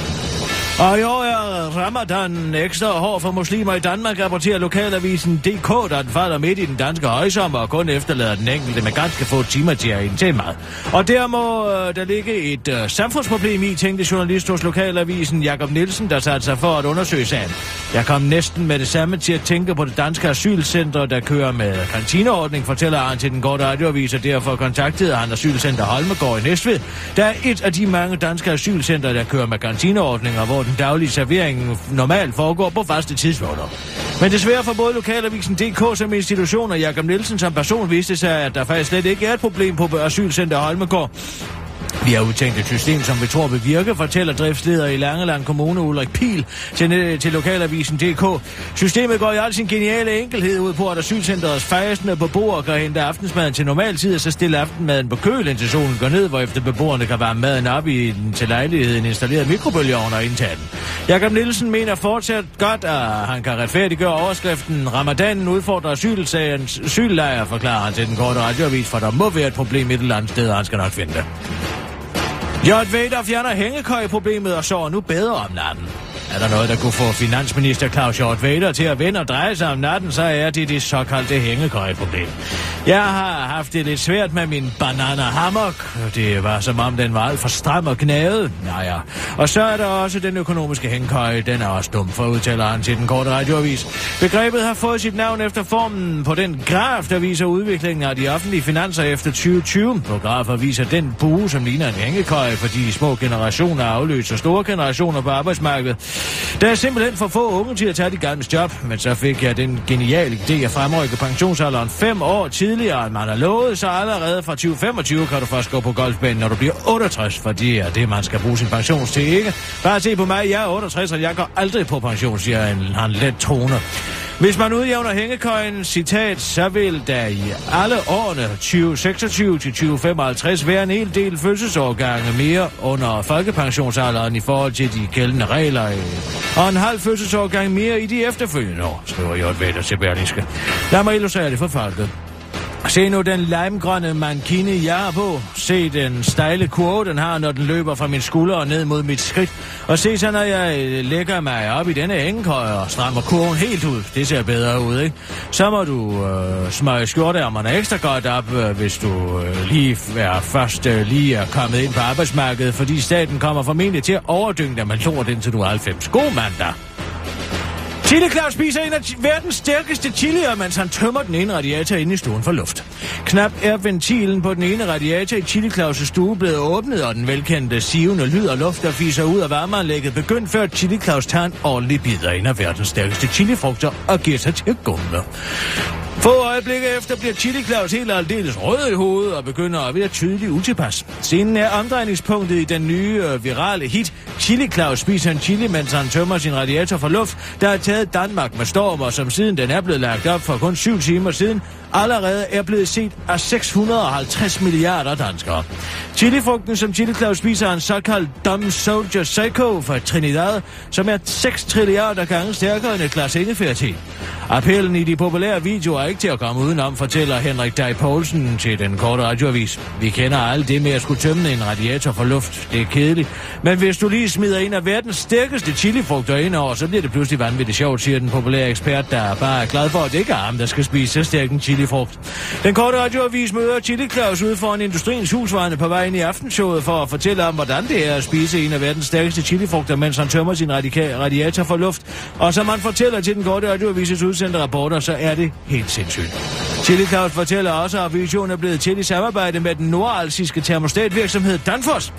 Speaker 4: Og i år er ramadanen ekstra hård for muslimer i Danmark, rapporterer lokalavisen DK, der den falder midt i den danske højsommer og kun efterlader den enkelte med ganske få timer til at indtage mad. Og der må øh, der ligge et øh, samfundsproblem i, tænkte journalist hos lokalavisen Jakob Nielsen, der satte sig for at undersøge sagen. Jeg kom næsten med det samme til at tænke på det danske asylcenter, der kører med kantineordning, fortæller han til den korte radioavis, og derfor kontaktede han asylcenter Holmegård i Næstved, der er et af de mange danske asylcenter, der kører med kantineordninger, hvor den daglige servering normalt foregår på faste tidspunkter. Men desværre for både Lokalavisen DK som institution og Jakob Nielsen som person viste sig, at der faktisk slet ikke er et problem på asylcenter Holmegård. Vi har udtænkt et system, som vi tror vil virke, fortæller driftsleder i Langeland Kommune Ulrik Pil til, til lokalavisen DK. Systemet går i al sin geniale enkelhed ud på, at asylcenterets fejsende beboere kan hente aftensmaden til normal tid, og så stille aftenmaden på køl, indtil solen går ned, hvorefter beboerne kan varme maden op i den til lejligheden installerede mikrobølgeovn og indtage den. Jakob Nielsen mener fortsat godt, at han kan retfærdiggøre overskriften Ramadanen udfordrer asylsagens asyllejr, forklarer han til den korte radioavis, for der må være et problem et eller andet sted, og han skal nok finde det. Jørgen Vader fjerner hængekøjeproblemet og sover nu bedre om natten. Er der noget, der kunne få finansminister Claus Hjort Vader til at vende og dreje sig om natten, så er det det såkaldte hængekøjeproblem. Jeg har haft det lidt svært med min banana hammock. Det var som om den var alt for stram og gnavet. Naja. Og så er der også den økonomiske hængekøje. Den er også dum, for udtaler han til den korte radioavis. Begrebet har fået sit navn efter formen på den graf, der viser udviklingen af de offentlige finanser efter 2020. På grafer viser den bue, som ligner en hængekøje, fordi små generationer afløser store generationer på arbejdsmarkedet. Der er simpelthen for få unge til at tage de gamle job, men så fik jeg den geniale idé at fremrykke pensionsalderen fem år tidligere, end man har lovet, så allerede fra 2025 kan du først gå på golfbanen, når du bliver 68, for det er det, man skal bruge sin pension til, ikke? Bare se på mig, jeg er 68, og jeg går aldrig på pension, siger en, han let troende. Hvis man udjævner hængekøjen, citat, så vil der i alle årene 2026 til 2055 være en hel del fødselsårgange mere under folkepensionsalderen i forhold til de gældende regler, øh, og en halv fødselsårgang mere i de efterfølgende år, skriver J. Vedder til Berlingske. Lad mig illustrere det for folket. Se nu den limegrønne mankini, jeg har på. Se den stejle kurve, den har, når den løber fra min skulder og ned mod mit skridt. Og se så, når jeg øh, lægger mig op i denne hængekøj og strammer kurven helt ud. Det ser bedre ud, ikke? Så må du øh, smøge skjorteærmerne ekstra godt op, øh, hvis du øh, lige er først øh, lige er kommet ind på arbejdsmarkedet, fordi staten kommer formentlig til at overdynge dig med lort indtil du er 90. God mandag! Chili Claus spiser en af chi- verdens stærkeste chilier, mens han tømmer den ene radiator inde i stuen for luft. Knap er ventilen på den ene radiator i Chili Claus' stue blevet åbnet, og den velkendte sivende lyd og luft, der fiser ud af varmeanlægget, begyndt før Chili Claus tager en ordentlig bid af en af verdens stærkeste chilifrugter og giver sig til at gumle. Få øjeblikke efter bliver Chili Claus helt og aldeles rød i hovedet og begynder at være tydelig utilpas. Scenen er omdrejningspunktet i den nye øh, virale hit. Chili Claus spiser en chili, mens han tømmer sin radiator for luft, der er taget Danmark med storm, og som siden den er blevet lagt op for kun syv timer siden, allerede er blevet set af 650 milliarder danskere. Chilifrugten, som Chili Claus spiser, er en såkaldt Dumb Soldier Psycho fra Trinidad, som er 6 trilliarder gange stærkere end et glas ingefærte. Appellen i de populære videoer er ikke til at komme udenom, fortæller Henrik Dej Poulsen til den korte radioavis. Vi kender alt det med at skulle tømme en radiator for luft. Det er kedeligt. Men hvis du lige smider en af verdens stærkeste chilifrugter ind over, så bliver det pludselig vanvittigt sjovt, siger den populære ekspert, der bare er glad for, at det ikke er ham, der skal spise så stærk en chilifrugt. Den korte radioavis møder Chili Claus ude foran Industriens Husvejene på vej ind i aftenshowet for at fortælle om, hvordan det er at spise en af verdens stærkeste chilifrugter, mens han tømmer sin radika- radiator for luft. Og som han fortæller til den korte radioavises udsendte rapporter, så er det helt sindssygt. Chili Claus fortæller også, at visionen er blevet til i samarbejde med den nordalsiske termostatvirksomhed Danfoss.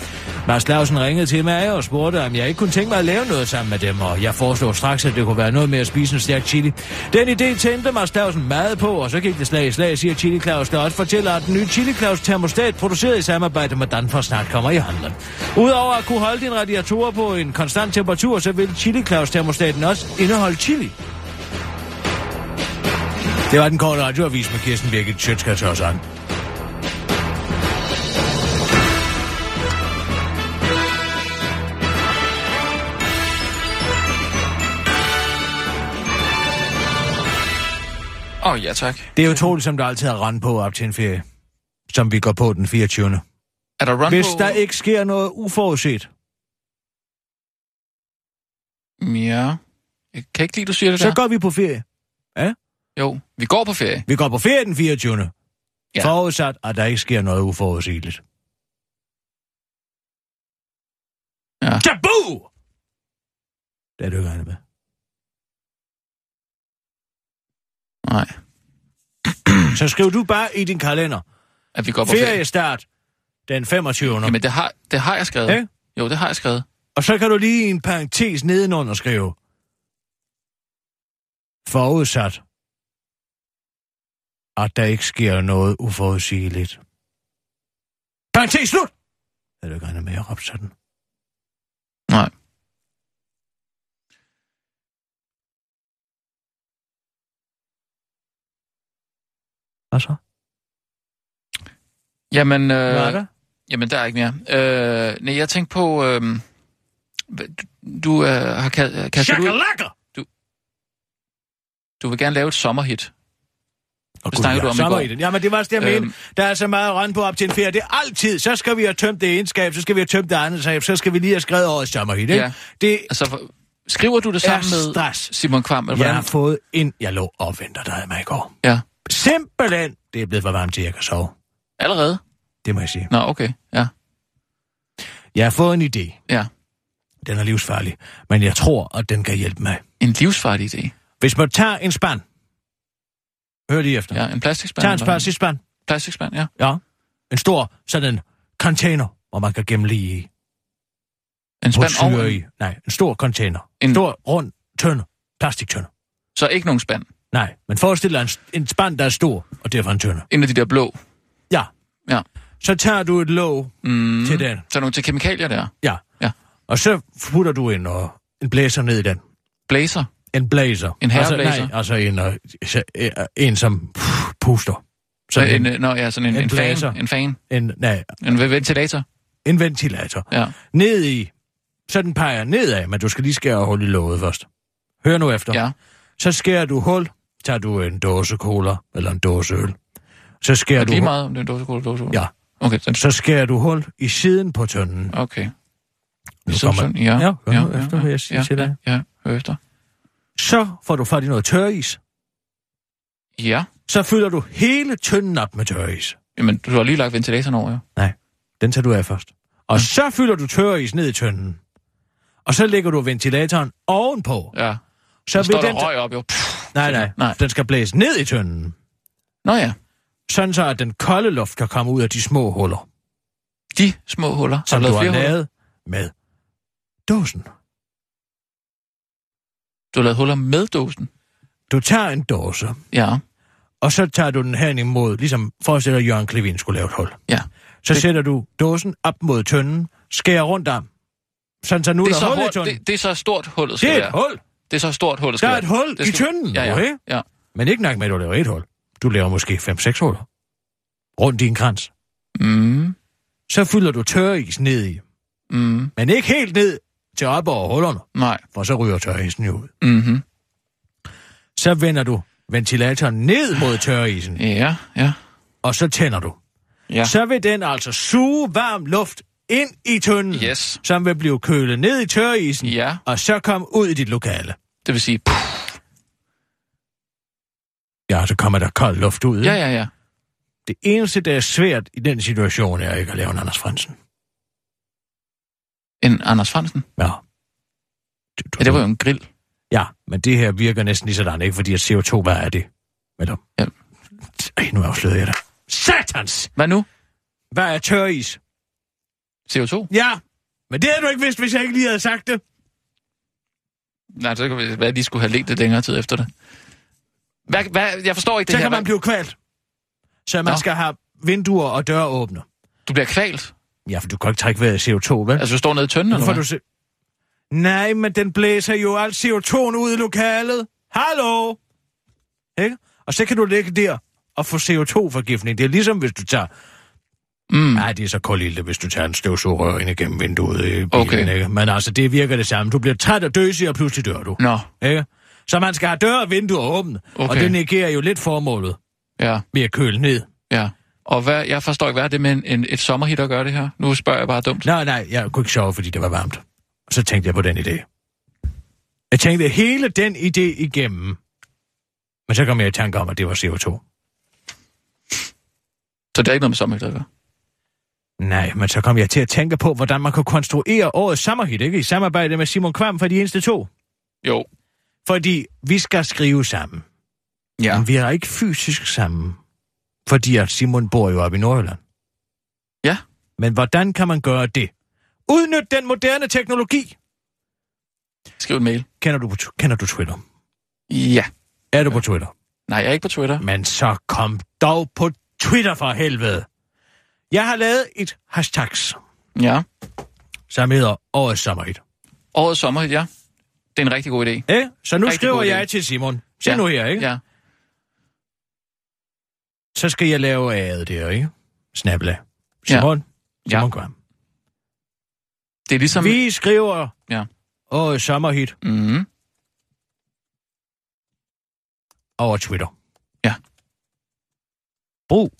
Speaker 4: Mads Lausen ringede til mig og spurgte, om jeg ikke kunne tænke mig at lave noget sammen med dem, og jeg foreslog straks, at det kunne være noget med at spise en stærk chili. Den idé tændte Mads Lausen meget på, og så gik det slag i slag, siger Chili Claus, der også fortæller, at den nye Chili Claus termostat produceret i samarbejde med Danfoss snart kommer i handlen. Udover at kunne holde din radiatorer på en konstant temperatur, så vil Chili Claus termostaten også indeholde chili. Det var den korte radioavis med Kirsten Birgit Sjøtskrets og sådan.
Speaker 5: Åh, oh, ja tak.
Speaker 4: Det er utroligt, som der altid er rand på op til en ferie, som vi går på den 24.
Speaker 5: Er der run
Speaker 4: Hvis
Speaker 5: på?
Speaker 4: der ikke sker noget uforudset,
Speaker 5: Ja. Jeg kan ikke lide, du siger det
Speaker 4: så
Speaker 5: der.
Speaker 4: går vi på ferie.
Speaker 5: Jo, vi går på ferie.
Speaker 4: Vi går på ferie den 24.
Speaker 5: Ja.
Speaker 4: Ja. Forudsat, at der ikke sker noget uforudsigeligt.
Speaker 5: Ja.
Speaker 4: Tabu! Det er du ikke regnet med.
Speaker 5: Nej,
Speaker 4: Så skriv du bare i din kalender.
Speaker 5: at vi går på ferie.
Speaker 4: Feriestart den 25.
Speaker 5: Jamen, det har, det har jeg skrevet.
Speaker 4: Ja.
Speaker 5: Jo, det har jeg skrevet.
Speaker 4: Og så kan du lige i en parentes nedenunder skrive. Forudsat, at der ikke sker noget uforudsigeligt. Parentes slut! Er du ikke regnet med at råbe sådan?
Speaker 5: Nej.
Speaker 4: Hvad så?
Speaker 5: Jamen, øh,
Speaker 4: Hvad er der?
Speaker 5: jamen, der er ikke mere. Øh, nej, jeg tænkte på... Øh, du, du øh, har ka- kastet ud...
Speaker 4: Shakalaka!
Speaker 5: Du vil gerne lave et sommerhit.
Speaker 4: Og
Speaker 5: Det snakkede du om i går.
Speaker 4: i den. Jamen, det var også det, jeg
Speaker 5: Øhm.
Speaker 4: øhm. mente. Der er så meget rand på op til en ferie. Det er altid. Så skal vi have tømt det ene skab, så skal vi have tømt det andet skab, så skal vi lige have skrevet årets sommerhit, ikke?
Speaker 5: Ja.
Speaker 4: Ja. Det,
Speaker 5: Altså, for- skriver du det sammen
Speaker 4: Er
Speaker 5: med
Speaker 4: stress.
Speaker 5: Simon Kvam? Eller
Speaker 4: jeg har
Speaker 5: Altså, hvordan?
Speaker 4: fået ind. Jeg lå og venter dig med i går.
Speaker 5: Ja.
Speaker 4: Simpelthen. Det er blevet for varmt til, at jeg kan sove.
Speaker 5: Allerede?
Speaker 4: Det må jeg sige.
Speaker 5: Nå, okay. Ja.
Speaker 4: Jeg har fået en idé.
Speaker 5: ja.
Speaker 4: Den er livsfarlig. Men jeg tror, at den kan hjælpe mig.
Speaker 5: En livsfarlig idé.
Speaker 4: Hvis man tager en spand. Hør lige efter. Ja.
Speaker 5: Ja, en plastikspand.
Speaker 4: Tager en
Speaker 5: eller
Speaker 4: spand, spand.
Speaker 5: Plastikspand, ja.
Speaker 4: Ja. En stor sådan container, hvor man kan gemme lige i.
Speaker 5: En spand over.
Speaker 4: i. Nej, en stor container.
Speaker 5: En-
Speaker 4: En stor, rund tønde. Plastiktønde.
Speaker 5: Så ikke nogen spand.
Speaker 4: Nej, men forestil dig en, en spand, der er stor, og derfor en tønde.
Speaker 5: En af de der blå.
Speaker 4: Ja.
Speaker 5: Ja.
Speaker 4: Så tager du et låg
Speaker 5: Mm.
Speaker 4: mm. til den.
Speaker 5: Så er nogle til kemikalier der.
Speaker 4: Ja.
Speaker 5: Ja.
Speaker 4: Og så putter du en, uh, en blæser ned i den.
Speaker 5: Blazer.
Speaker 4: En blazer.
Speaker 5: En herreblæser?
Speaker 4: Altså, nej, altså en, uh, så, uh, en som pff, puster.
Speaker 5: Så
Speaker 4: Sådan
Speaker 5: en, en, nå, ja, sådan en, en,
Speaker 4: en
Speaker 5: en
Speaker 4: blazer.
Speaker 5: fan. En fan.
Speaker 4: en, nej,
Speaker 5: En ve- ventilator.
Speaker 4: en ventilator.
Speaker 5: Ja.
Speaker 4: Ned i. Så den peger nedad, men du skal lige skære hul i låget først. Hør nu efter.
Speaker 5: Ja.
Speaker 4: Så skærer du hul, tager du en dåse cola eller en dåse øl, Så skærer
Speaker 5: Er
Speaker 4: du,
Speaker 5: lige
Speaker 4: hul-
Speaker 5: meget om det er en dåsekode eller dåsekode?
Speaker 4: Ja.
Speaker 5: Okay, den,
Speaker 4: så skærer du hul i siden på tønden.
Speaker 5: okay.
Speaker 4: Nu
Speaker 5: Som
Speaker 4: kommer-
Speaker 5: sådan, ja.
Speaker 4: Ja, hør nu efter, hvad jeg siger
Speaker 5: ja,
Speaker 4: til dig.
Speaker 5: Ja, ja, hør efter.
Speaker 4: Så får du fat i noget tørris.
Speaker 5: Ja,
Speaker 4: Så fylder du hele tønden op med tørris.
Speaker 5: men du har lige lagt ventilatoren over, jo.
Speaker 4: Den tager du af først. Og så fylder du tørris ned i tønden. Og så lægger du ventilatoren ovenpå.
Speaker 5: Ja,
Speaker 4: Så
Speaker 5: så står
Speaker 4: vil den...
Speaker 5: der røg op, jo. Pff,
Speaker 4: Nej, nej, nej.
Speaker 5: Nej.
Speaker 4: Den skal blæse ned i tønden.
Speaker 5: Nå ja,
Speaker 4: Sådan så, at den kolde luft kan komme ud af de små huller.
Speaker 5: de små huller.
Speaker 4: som
Speaker 5: lavet
Speaker 4: du har
Speaker 5: flere huller?
Speaker 4: lavet med dåsen.
Speaker 5: Du har lavet huller med dåsen.
Speaker 4: Du tager en dåse,
Speaker 5: Ja,
Speaker 4: og så tager du den hen imod, ligesom forestil dig, at Jørgen Klevin skulle lave et hul.
Speaker 5: ja.
Speaker 4: Så det...
Speaker 5: Det-
Speaker 4: sætter du dåsen op mod tønden, skærer rundt om, sådan så nu
Speaker 5: Det
Speaker 4: er
Speaker 5: er, så
Speaker 4: der hul i
Speaker 5: hul,
Speaker 4: tønden.
Speaker 5: det, det er så stort hullet
Speaker 4: Det
Speaker 5: skal
Speaker 4: er et
Speaker 5: være.
Speaker 4: hul.
Speaker 5: Det er så stort hullet skal
Speaker 4: Der er et
Speaker 5: være.
Speaker 4: hul
Speaker 5: Det
Speaker 4: i tønden,
Speaker 5: Ja, ja,
Speaker 4: okay?
Speaker 5: ja.
Speaker 4: Men ikke nok med, at du laver et hul. Du laver måske 5-6 huller. Rundt i en krans.
Speaker 5: Mm,
Speaker 4: Så fylder du tørris ned i.
Speaker 5: mm,
Speaker 4: Men ikke helt ned til op over hullerne,
Speaker 5: nej.
Speaker 4: for så ryger tørrisen jo ud.
Speaker 5: Mm-hmm.
Speaker 4: Så vender du ventilatoren ned mod tørrisen,
Speaker 5: Ja, ja,
Speaker 4: og så tænder du.
Speaker 5: ja.
Speaker 4: så vil den altså suge varm luft ind i tønden,
Speaker 5: Yes.
Speaker 4: som vil blive kølet ned i tørisen,
Speaker 5: Ja,
Speaker 4: og så komme ud i dit lokale.
Speaker 5: det vil sige... Puh,
Speaker 4: Ja, så kommer der kold luft ud.
Speaker 5: ja,
Speaker 4: ikke?
Speaker 5: ja, ja.
Speaker 4: Det eneste, der er svært i den situation, er ikke at lave en Anders Fransen.
Speaker 5: En Anders Fransen.
Speaker 4: Ja. Du, du,
Speaker 5: Ja, det var jo en grill.
Speaker 4: ja, men det her virker næsten lige sådan, ikke? Fordi at CO2, hvad er det? Eller...
Speaker 5: Ja.
Speaker 4: Ej, nu afslører jeg dig. Satans!
Speaker 5: Hvad nu?
Speaker 4: Hvad er tøris?
Speaker 5: CO2?
Speaker 4: Ja, men det havde du ikke vidst, hvis jeg ikke lige havde sagt det.
Speaker 5: Nej, så kan vi være, at de skulle have let det længere tid efter det. Hvad, hvad, jeg forstår ikke det
Speaker 4: Så
Speaker 5: her.
Speaker 4: kan man
Speaker 5: Hvad-
Speaker 4: blive kvalt. Så man
Speaker 5: Nå.
Speaker 4: skal have vinduer og døre åbne.
Speaker 5: Du bliver kvalt.
Speaker 4: Ja, for du kan ikke trække vejret i CO2, vel? Altså,
Speaker 5: Altså, du står nede i tønden,
Speaker 4: nu får du
Speaker 5: eller hvad?
Speaker 4: se... Nej, men den blæser jo alt CO2'en ud i lokalet. Hallo? Ikke? Og så kan du ligge der og få CO2-forgiftning. Det er ligesom, hvis du tager...
Speaker 5: Mm.
Speaker 4: Nej, det er så koldt hvis du tager en støvsugerrør ind igennem vinduet i bilen,
Speaker 5: Okay.
Speaker 4: ikke? Men altså, det virker det samme. Du bliver træt og døsig, og pludselig dør du.
Speaker 5: Nå,
Speaker 4: Ikke? Så man skal have døre og vinduer åbne. Og
Speaker 5: Mm. Okay.
Speaker 4: det negerer jo lidt formålet
Speaker 5: ja,
Speaker 4: med at køle ned.
Speaker 5: ja. Og hvad, jeg forstår ikke, hvad er det med en, en, et sommerhit at gøre det her? Nu spørger jeg bare dumt.
Speaker 4: Nej, nej, jeg kunne ikke sove, fordi det var varmt. Og så tænkte jeg på den idé. Jeg tænkte hele den idé igennem. Men så kom jeg i tanke om, at det var CO2.
Speaker 5: Så det er ikke noget med sommerhit at gøre.
Speaker 4: Nej, men så kom jeg til at tænke på, hvordan man kunne konstruere årets sommerhit, ikke? I samarbejde med Simon Kvam fra De Eneste To.
Speaker 5: Jo.
Speaker 4: Fordi vi skal skrive sammen.
Speaker 5: Ja.
Speaker 4: Men vi er ikke fysisk sammen. Fordi at Simon bor jo oppe i Nordjylland.
Speaker 5: Ja.
Speaker 4: Men hvordan kan man gøre det? Udnyt den moderne teknologi.
Speaker 5: Skriv en mail.
Speaker 4: Kender du, på- kender du Twitter?
Speaker 5: Ja.
Speaker 4: Er du på Twitter?
Speaker 5: Nej, jeg er ikke på Twitter.
Speaker 4: Men så kom dog på Twitter for helvede. Jeg har lavet et hashtags,
Speaker 5: Ja.
Speaker 4: som hedder Årets Sommerhit.
Speaker 5: Årets sommerhit, ja. Det er en rigtig god idé.
Speaker 4: Eh? Så nu
Speaker 5: Rigtig
Speaker 4: skriver
Speaker 5: god idé.
Speaker 4: jeg til Simon. Se
Speaker 5: ja.
Speaker 4: nu her, ikke?
Speaker 5: Ja.
Speaker 4: Så skal jeg lave ad der, ikke? Snabla. Simon.
Speaker 5: Ja.
Speaker 4: Simon Kvam.
Speaker 5: Det er ligesom...
Speaker 4: Vi skriver
Speaker 5: Ja.
Speaker 4: Årets Sommerhit
Speaker 5: Mm-hmm.
Speaker 4: over Twitter.
Speaker 5: Ja.
Speaker 4: Brug.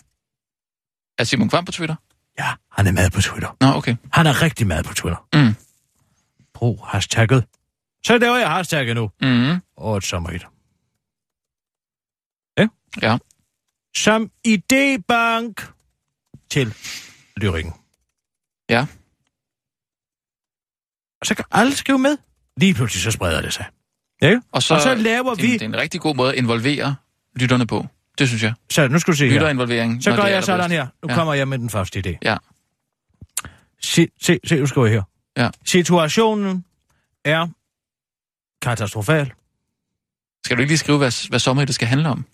Speaker 5: Er Simon Kvam på Twitter?
Speaker 4: Ja, han er med på Twitter.
Speaker 5: Nå, okay.
Speaker 4: Han er rigtig meget på Twitter.
Speaker 5: Mm.
Speaker 4: Brug hashtagget. Så laver jeg hashtagget nu.
Speaker 5: Mm-hmm.
Speaker 4: Årets Sommerhit.
Speaker 5: Ja.
Speaker 4: som idébank til lyrikken.
Speaker 5: Ja.
Speaker 4: Og så kan alle skrive med. Lige pludselig så spreder det sig. Ja,
Speaker 5: Og så,
Speaker 4: og så laver
Speaker 5: det, er en-
Speaker 4: vi...
Speaker 5: Det er en rigtig god måde at involvere lytterne på. Det synes jeg.
Speaker 4: Så nu skal du se her.
Speaker 5: Lytterinvolvering.
Speaker 4: Så
Speaker 5: når
Speaker 4: gør
Speaker 5: det er
Speaker 4: jeg sådan
Speaker 5: allerbedst.
Speaker 4: her. Nu
Speaker 5: Ja.
Speaker 4: kommer jeg med den første idé.
Speaker 5: Ja.
Speaker 4: Se, se, se nu skriver jeg her.
Speaker 5: Ja.
Speaker 4: Situationen er katastrofal.
Speaker 5: Skal du ikke lige skrive, hvad, hvad sommerhit det skal handle om?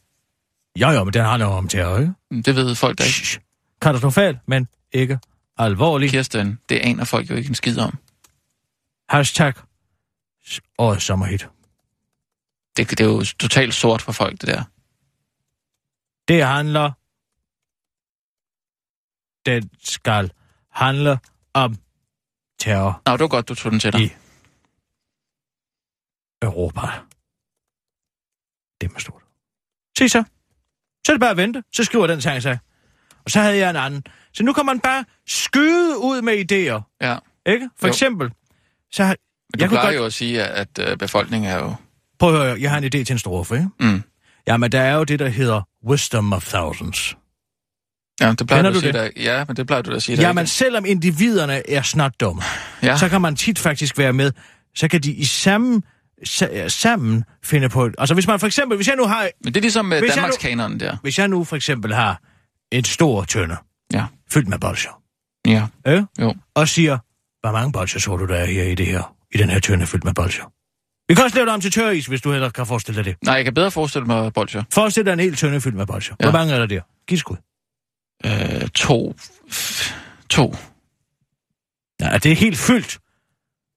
Speaker 4: Jo, jo, men den handler om terror, ikke?
Speaker 5: Det ved folk da ikke.
Speaker 4: Shh. Katastrofal, men ikke alvorlig.
Speaker 5: Kirsten, det aner folk jo ikke en skid om.
Speaker 4: Hashtag s- årets sommerhit.
Speaker 5: Det, det er jo totalt sort for folk, det der.
Speaker 4: Det handler... Den skal handle om terror
Speaker 5: Nå, det var godt, du tog den til dig.
Speaker 4: i Europa. Det er med stort. Se så. Så er det bare at vente. Så skriver den sang sig. Og så havde jeg en anden. Så nu kan man bare skyde ud med idéer.
Speaker 5: Ja.
Speaker 4: Ikke? For
Speaker 5: Jo.
Speaker 4: jo. eksempel, så har...
Speaker 5: Men du
Speaker 4: Jeg kunne
Speaker 5: plejer
Speaker 4: godt...
Speaker 5: godt... jo at sige, at, at øh, befolkningen er jo...
Speaker 4: Prøv at høre, jeg har en idé til en strofe, ikke?
Speaker 5: Mm.
Speaker 4: Jamen, der er jo det, der hedder Wisdom of Thousands.
Speaker 5: Ja, det
Speaker 4: Kender
Speaker 5: plejer du at
Speaker 4: du
Speaker 5: sige, der... Ja, men det plejer du da at sige. der
Speaker 4: Jamen,
Speaker 5: ikke-
Speaker 4: selvom individerne er snart dumme,
Speaker 5: ja.
Speaker 4: så kan man tit faktisk være med, så kan de i sammen, sa- sammen finde på... et- Altså, hvis man for eksempel, hvis jeg nu har,
Speaker 5: Men det er ligesom med
Speaker 4: Hvis jeg nu-
Speaker 5: Danmarkskanonen der.
Speaker 4: hvis jeg nu for eksempel har en stor tønde,
Speaker 5: Ja.
Speaker 4: fyldt med bolsjer,
Speaker 5: Ja.
Speaker 4: øh?
Speaker 5: Jo.
Speaker 4: og siger, hvor mange bolsjer tror du, der er her i det her, i den her tønde fyldt med bolsjer? Vi kan også lave det om til tøris, hvis du heller kan forestille dig det.
Speaker 5: Nej, jeg kan bedre forestille mig bolcher.
Speaker 4: Forestil dig en hel tønde fyldt med bolsjer.
Speaker 5: Ja.
Speaker 4: Hvor mange er der der? Giv skud.
Speaker 5: Øh, to. F- To.
Speaker 4: Ja, det er helt fyldt.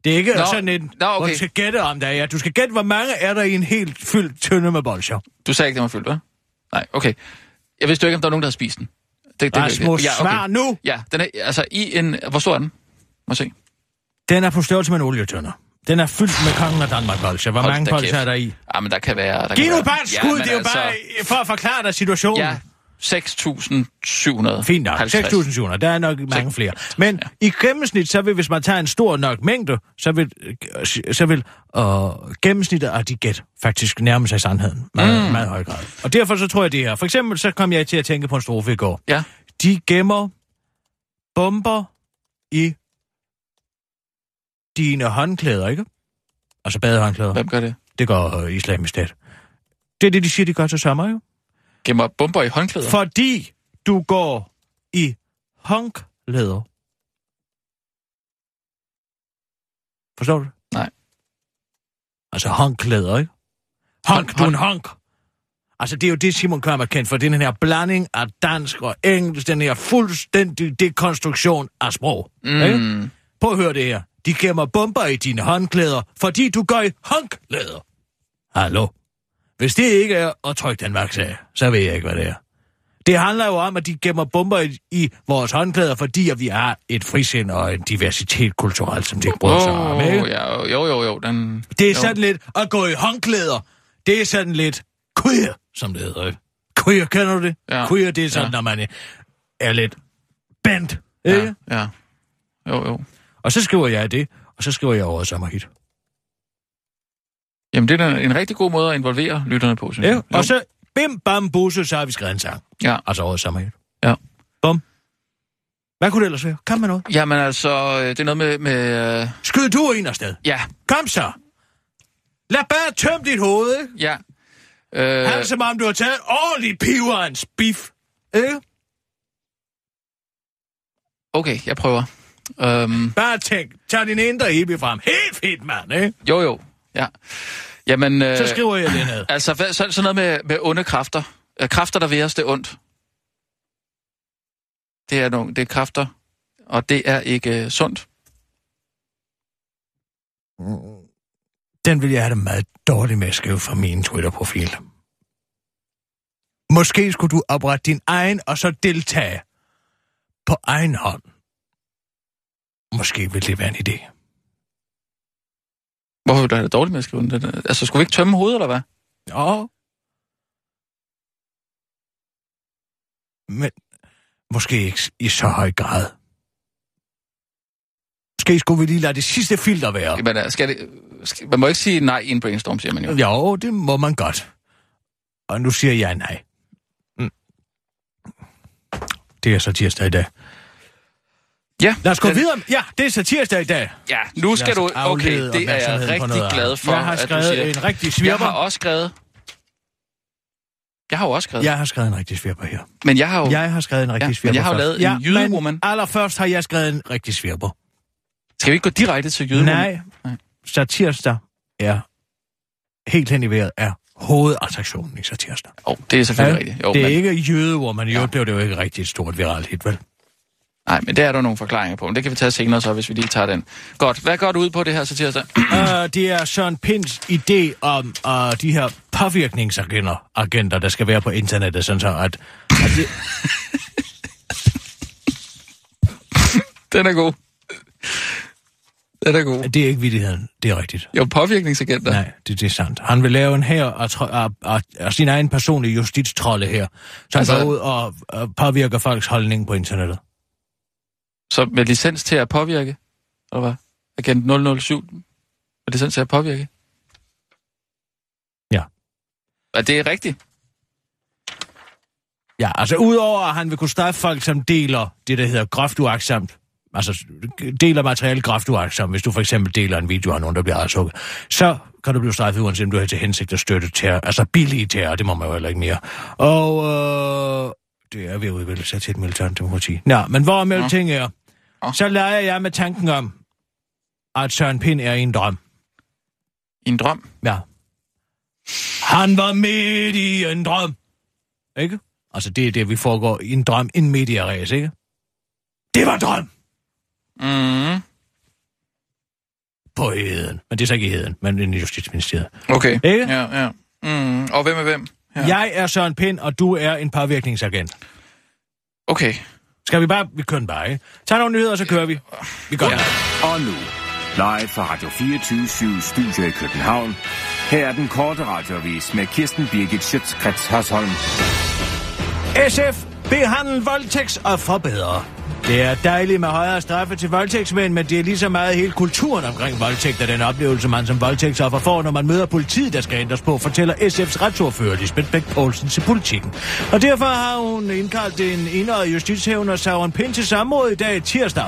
Speaker 4: Det er ikke
Speaker 5: Nå,
Speaker 4: Nå. sådan en,
Speaker 5: nå, okay.
Speaker 4: hvor du skal gætte om der er. Du skal gætte, hvor mange er der i en helt fyldt tønde med bolsjer.
Speaker 5: Du sagde ikke, den var fyldt, hva'? Nej, okay. Jeg vidste jo ikke, om der var nogen, der havde spist den. Det, det,
Speaker 4: Rasmus,
Speaker 5: ja, okay.
Speaker 4: svar nu!
Speaker 5: Ja, den er, altså i en... Hvor stor er den? Må jeg se.
Speaker 4: Den er på størrelse med en olietønder. Den er fyldt med kongen af Danmark bolsjer. Hvor
Speaker 5: Hold
Speaker 4: mange
Speaker 5: da
Speaker 4: bolsjer
Speaker 5: kæft.
Speaker 4: er der i?
Speaker 5: Ja, men der kan være... Der
Speaker 4: Giv
Speaker 5: kan
Speaker 4: nu
Speaker 5: være-
Speaker 4: bare et
Speaker 5: Ja,
Speaker 4: skud,
Speaker 5: men
Speaker 4: det er jo
Speaker 5: altså-
Speaker 4: bare øh, for at forklare dig situationen.
Speaker 5: Ja, 6.700.
Speaker 4: Fint nok. 6.700, der er nok mange flere. Men i gennemsnit, så vil, hvis man tager en stor nok mængde, så vil, så vil øh, gennemsnittet af de gæt faktisk nærme sig sandheden. Meget, mm. meget høj grad. Og derfor så tror jeg det her. For eksempel så kom jeg til at tænke på en strofe i går.
Speaker 5: Ja.
Speaker 4: De gemmer bomber i dine håndklæder, ikke? Altså badehåndklæder.
Speaker 5: Hvem gør det?
Speaker 4: Det gør øh, islamisk stat. Det er det, de siger, de gør til sommer, jo.
Speaker 5: Gemmer bomber i håndklæder? For...
Speaker 4: Fordi du går i honkleder. Forstår du? det?
Speaker 5: Nej.
Speaker 4: Altså honkleder, ikke?
Speaker 5: Honk,
Speaker 4: Honk, du er en honk. Altså, det er jo det, Simon Kørm er kendt for. Det er den her blanding af dansk og engelsk. Den her fuldstændig dekonstruktion af sprog. Ikke? Prøv at høre det her. De gemmer bomber i dine håndklæder, fordi du går i håndklæder. Hallo? Hvis det ikke er at trykke Danmarks af, så ved jeg ikke, hvad det er. Det handler jo om, at de gemmer bomber i, i vores håndklæder, fordi at vi har et frisind og en diversitet kulturelt, som de ikke bryder sig om. Ikke?
Speaker 5: Oh, ja, jo, jo, jo. Den...
Speaker 4: Det er
Speaker 5: jo.
Speaker 4: sådan lidt at gå i håndklæder. Det er sådan lidt queer, som det hedder. ikke? Queer, kender du det?
Speaker 5: Ja.
Speaker 4: Queer, det er sådan,
Speaker 5: Ja.
Speaker 4: ja. når man er lidt bent. Ikke?
Speaker 5: Ja, ja. Jo, jo.
Speaker 4: Og så skriver jeg det, og så skriver jeg over sommerhit.
Speaker 5: Jamen, det er da en rigtig god måde at involvere lytterne på, synes
Speaker 4: Ja.
Speaker 5: jeg. Mm. Jo.
Speaker 4: Og så bim bam busse, så har vi skrevet en sang.
Speaker 5: Ja.
Speaker 4: Altså over sommerhit.
Speaker 5: Ja.
Speaker 4: Bum. Hvad kunne det ellers være? Kom med noget.
Speaker 5: Jamen altså, øh, det er noget med... med øh,
Speaker 4: Skyd du en afsted.
Speaker 5: ja,
Speaker 4: Kom så. Lad bare tømme dit hoved, ikke?
Speaker 5: ja. Øh,
Speaker 4: Øh... som om du har taget en ordentlig piver af en spif. Ikke?
Speaker 5: okay, jeg prøver. Øhm,
Speaker 4: Bare tænk, tag din indre hippie frem. Helt fedt, mand, ikke?
Speaker 5: jo, jo. Ja. Jamen, øh,
Speaker 4: Så skriver jeg det ned.
Speaker 5: altså, hvad, så, sådan noget med, med onde kræfter. Øh, kræfter, der ved os, det er ondt. Det er, nogle, det er kræfter, og det er ikke øh, sundt.
Speaker 4: Den vil jeg have det meget dårligt med at skrive fra min Twitter-profil. Måske skulle du oprette din egen og så deltage på egen hånd. Måske vil det være en idé.
Speaker 5: Hvorfor vil du have det dårligt med at skrive den? Den er- Altså, skulle vi ikke tømme hovedet, eller hvad?
Speaker 4: Ja. Men måske ikke i så høj grad. Måske skulle vi lige lade det sidste filter være.
Speaker 5: Jamen, øh, skal det, skal, man må ikke sige nej i en brainstorm, siger man jo.
Speaker 4: Jo, det må man godt. Og nu siger jeg nej. Mm. Det er så tirsdag i dag.
Speaker 5: Ja,
Speaker 4: Lad os gå
Speaker 5: den-
Speaker 4: videre. Ja, det er så tirsdag i dag.
Speaker 5: Ja, nu skal
Speaker 4: Lad
Speaker 5: du...
Speaker 4: os
Speaker 5: Okay,
Speaker 4: aflede
Speaker 5: det er jeg
Speaker 4: opmærksomheden på
Speaker 5: rigtig
Speaker 4: noget andet.
Speaker 5: glad for,
Speaker 4: Jeg har
Speaker 5: at du
Speaker 4: skrevet
Speaker 5: siger.
Speaker 4: en rigtig
Speaker 5: Jeg
Speaker 4: svirper.
Speaker 5: har også skrevet... Jeg har jo også skrevet. Ja.
Speaker 4: Jeg har skrevet en rigtig svirper her.
Speaker 5: Men jeg har jo...
Speaker 4: Jeg har skrevet en rigtig
Speaker 5: Ja, men
Speaker 4: svirper
Speaker 5: jeg har jo
Speaker 4: først.
Speaker 5: lavet en
Speaker 4: men
Speaker 5: jydewoman.
Speaker 4: allerførst har jeg skrevet en rigtig svirper.
Speaker 5: Skal vi ikke gå direkte til jyden?
Speaker 4: Nej,
Speaker 5: Nej.
Speaker 4: satirsdag er helt hen i vejret er hovedattraktionen i satirsdag.
Speaker 5: Oh, det er selvfølgelig rigtigt. Jo,
Speaker 4: det er
Speaker 5: men,
Speaker 4: ikke jøde, hvor man jo
Speaker 5: Ja.
Speaker 4: ja. blev det jo ikke rigtig et stort viralt hit,
Speaker 5: [CLEARS THROAT]
Speaker 4: vel?
Speaker 5: Nej, men det er der nogle forklaringer på. Men det kan vi tage senere så, hvis vi lige tager den. Godt. Hvad går du ud på det her [CLEARS THROAT] satirsdag?
Speaker 4: uh, det er Søren Pins idé om uh, de her påvirkningsagenter, agenter, der skal være på internettet, sådan så at... at det,
Speaker 5: den er god. Den er god.
Speaker 4: Det er ikke vidtigheden, det er rigtigt.
Speaker 5: Jo, påvirkningsagenter.
Speaker 4: Nej, det, det er sandt. Han vil lave en her og, tro- og, og, og sin egen personlige justitstrolle her, som
Speaker 5: Altså-
Speaker 4: altså... går ud og, og påvirker folks holdning på internettet.
Speaker 5: Så med licens til at påvirke, eller hvad? Agent 007 med licens til at påvirke?
Speaker 4: Ja.
Speaker 5: Er det rigtigt?
Speaker 4: Ja, altså udover at han vil kunne straffe folk, som deler det, der hedder groft uagtsomt, altså deler materiale groft uagtsomt, hvis du for eksempel deler en video af nogen, der bliver afsukket, så kan du blive straffet, uanset om du har til hensigt at støtte terror, altså billige terror, det må man jo heller ikke mere. Og øh, det er ved at udvikle sig til et militant demokrati. Nå, men hvor med
Speaker 5: Nå.
Speaker 4: ting er,
Speaker 5: Nå.
Speaker 4: så leger jeg med tanken om, at Søren Pind er i en drøm.
Speaker 5: I en drøm?
Speaker 4: Ja. Han var midt i en drøm. Ikke? Altså, det er det, vi foregår i en drøm, en medieræs, ikke? Det var drøm
Speaker 5: Mm.
Speaker 4: på heden. Men det er så ikke i heden, men i Justitsministeriet.
Speaker 5: Okay.
Speaker 4: Ikke?
Speaker 5: Ja, ja. Mm. Og hvem er hvem? Ja.
Speaker 4: Ja. Jeg er Søren Pind, og du er en påvirkningsagent.
Speaker 5: Okay.
Speaker 4: Skal vi bare... Vi kører den bare, ikke? Tag nogle nyheder, så kører vi. Vi gør ja.
Speaker 6: Og nu, live fra Radio 24 Studio i København. Her er den korte radiovis med Kirsten Birgit Schøtzgrads Hasholm.
Speaker 4: SF behandler voldtægtsoffer bedre. Det er dejligt med højere straffe til voldtægtsmænd, men det er lige så meget hele kulturen omkring voldtægt og den oplevelse, man som voldtægtsoffer får, når man møder politiet, der skal ændres på, fortæller SF's retsordfører Lisbeth Bæk Poulsen til politikken. Og derfor har hun indkaldt en indre justitshævner Søren Pind til samråd i dag tirsdag.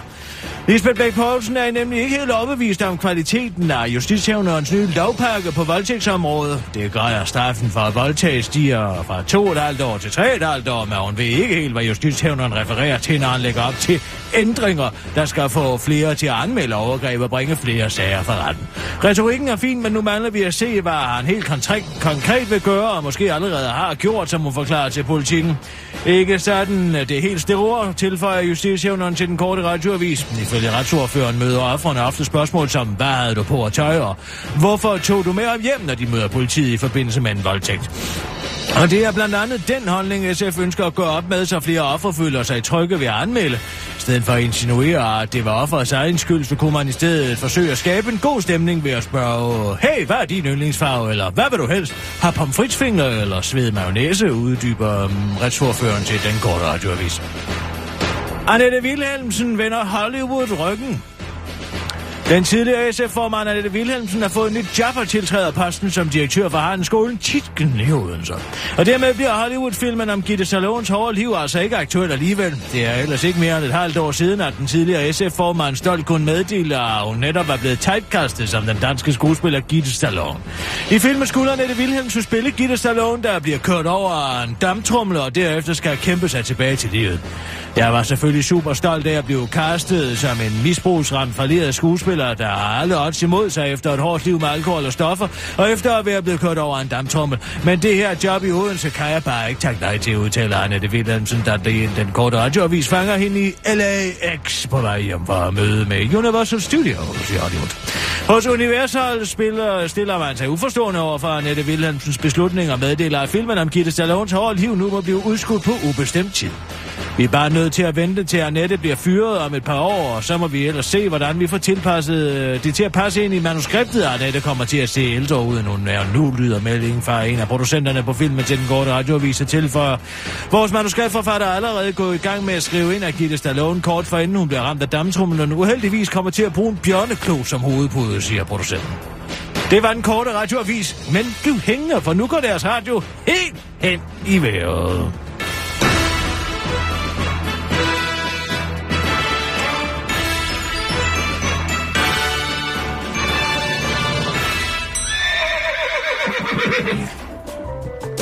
Speaker 4: Lisbeth Bæk Poulsen er nemlig ikke helt overbevist om kvaliteten af justitshævnerens nye lovpakke på voldtægtsområdet. Det gør, at straffen for voldtægt stiger fra 2,5 år til 3,5 år, men hun ved ikke helt, hvad justitshævneren refererer til, når han lægger op til ændringer, der skal få flere til at anmelde overgreb og bringe flere sager for retten. Retorikken er fin, men nu mangler vi at se, hvad han helt konkret, konkret vil gøre, og måske allerede har gjort, som hun forklarer til politikken. Ikke sådan, at det er helt store, tilføjer justitshævneren til den korte radioavis. Ifølge retsordføreren møder offrene ofte spørgsmål som, hvad havde du på at tøj, og hvorfor tog du med om hjem, når de møder politiet i forbindelse med en voldtægt? Og det er blandt andet den holdning, SF ønsker at gå op med, så flere ofre føler sig trygge ved at anmelde. I stedet for at insinuere, at det var offerets egen skyld, så kunne man i stedet forsøge at skabe en god stemning ved at spørge, hey, hvad er din yndlingsfarve, eller hvad vil du helst? Har pomfritsfingre eller sved mayonnaise, uddyber um, retsordføreren til den korte radioavis. Annette Wilhelmsen vender Hollywood ryggen. Den tidligere SF-formand Annette Wilhelmsen har fået et nyt job og tiltræder posten som direktør for Handelsskolen Titken i Odense. Og dermed bliver Hollywood-filmen om Gitte Salons hårde liv altså ikke aktuel alligevel. Det er ellers ikke mere end et halvt år siden, at den tidligere SF-formand stolt kunne meddele, at hun netop var blevet typecastet som den danske skuespiller Gitte Stallone. I filmen skulle Annette Wilhelmsen spille Gitte Stallone, der bliver kørt over af en damptrumler og derefter skal kæmpe sig tilbage til livet. Jeg var selvfølgelig super stolt af at blive castet som en misbrugsramt falderet skuespiller, der har alle odds imod sig efter et hårdt liv med alkohol og stoffer, og efter at være blevet kørt over en damptrommel. Men det her job i Odense kan jeg bare ikke takke nej til, udtaler Annette Wilhelmsen, der i den korte radioavis fanger hende i LAX på vej hjem fra møde med Universal Studios i Hollywood. Hos Universal spiller, stiller man sig uforstående over for Annette Wilhelmsens beslutning og meddeler, at filmen om Gitte Stallones hårde liv nu må blive udskudt på ubestemt tid. Vi er bare nødt til at vente til Annette bliver fyret om et par år, og så må vi ellers se, hvordan vi får tilpasset øh, det til at passe ind i manuskriptet. Annette kommer til at se ældre ud, end hun er nu, lyder meldingen fra en af producenterne på filmen til den korte radioavis og tilføjer. Vores manuskriptforfatter er allerede gået i gang med at skrive ind, at Gitte Stallone kort for inden hun bliver ramt af dammtrumlen, uheldigvis kommer til at bruge en bjørneklo som hovedpude, siger producenten. Det var den korte radioavis, men bliv hængende, for nu går deres radio helt hen i vejret.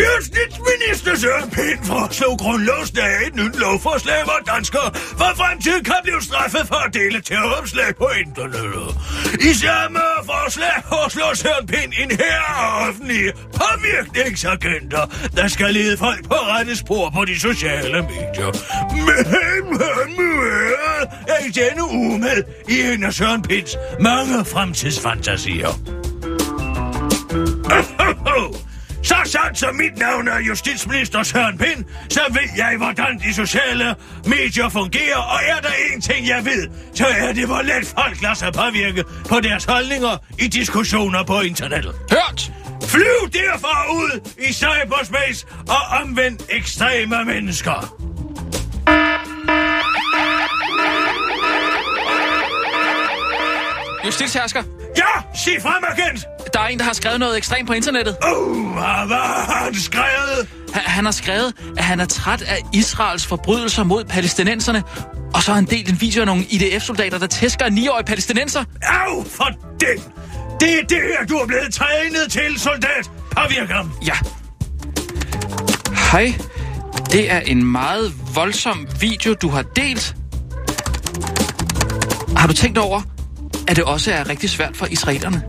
Speaker 4: Justitsminister Søren Pind foreslog grundlovsdag et nyt lovforslag, hvor danskere for fremtiden kan blive straffet for at dele terroropslag på internettet. I samme forslag foreslår Søren Pind en her af offentlige påvirkningsagenter, der skal lede folk på rette spor på de sociale medier. Men mødet er i denne uge med i en af Søren Pinds mange fremtidsfantasier. [COUGHS] Så sandt som mit navn er justitsminister Søren Pind, så ved jeg, hvordan de sociale medier fungerer, og er der en ting, jeg ved, så er det, hvor let folk lader sig påvirke på deres holdninger i diskussioner på internettet.
Speaker 5: Hørt!
Speaker 4: Flyv derfor ud i cyberspace og omvend ekstreme mennesker.
Speaker 5: Justitshersker,
Speaker 4: Ja, sig frem, agent!
Speaker 5: der er en, der har skrevet noget ekstremt på internettet.
Speaker 4: Uh, hvad har han skrevet?
Speaker 5: Han, han har skrevet, at han er træt af Israels forbrydelser mod palæstinenserne, og så har han delt en video af nogle IDF-soldater, der tæsker en 9-årig palæstinenser.
Speaker 4: Au for den! Det er det her, du er blevet trænet til, soldat! Påvirk ham!
Speaker 5: Ja. Hej. Det er en meget voldsom video, du har delt. Har du tænkt over, at det også er rigtig svært for israelerne?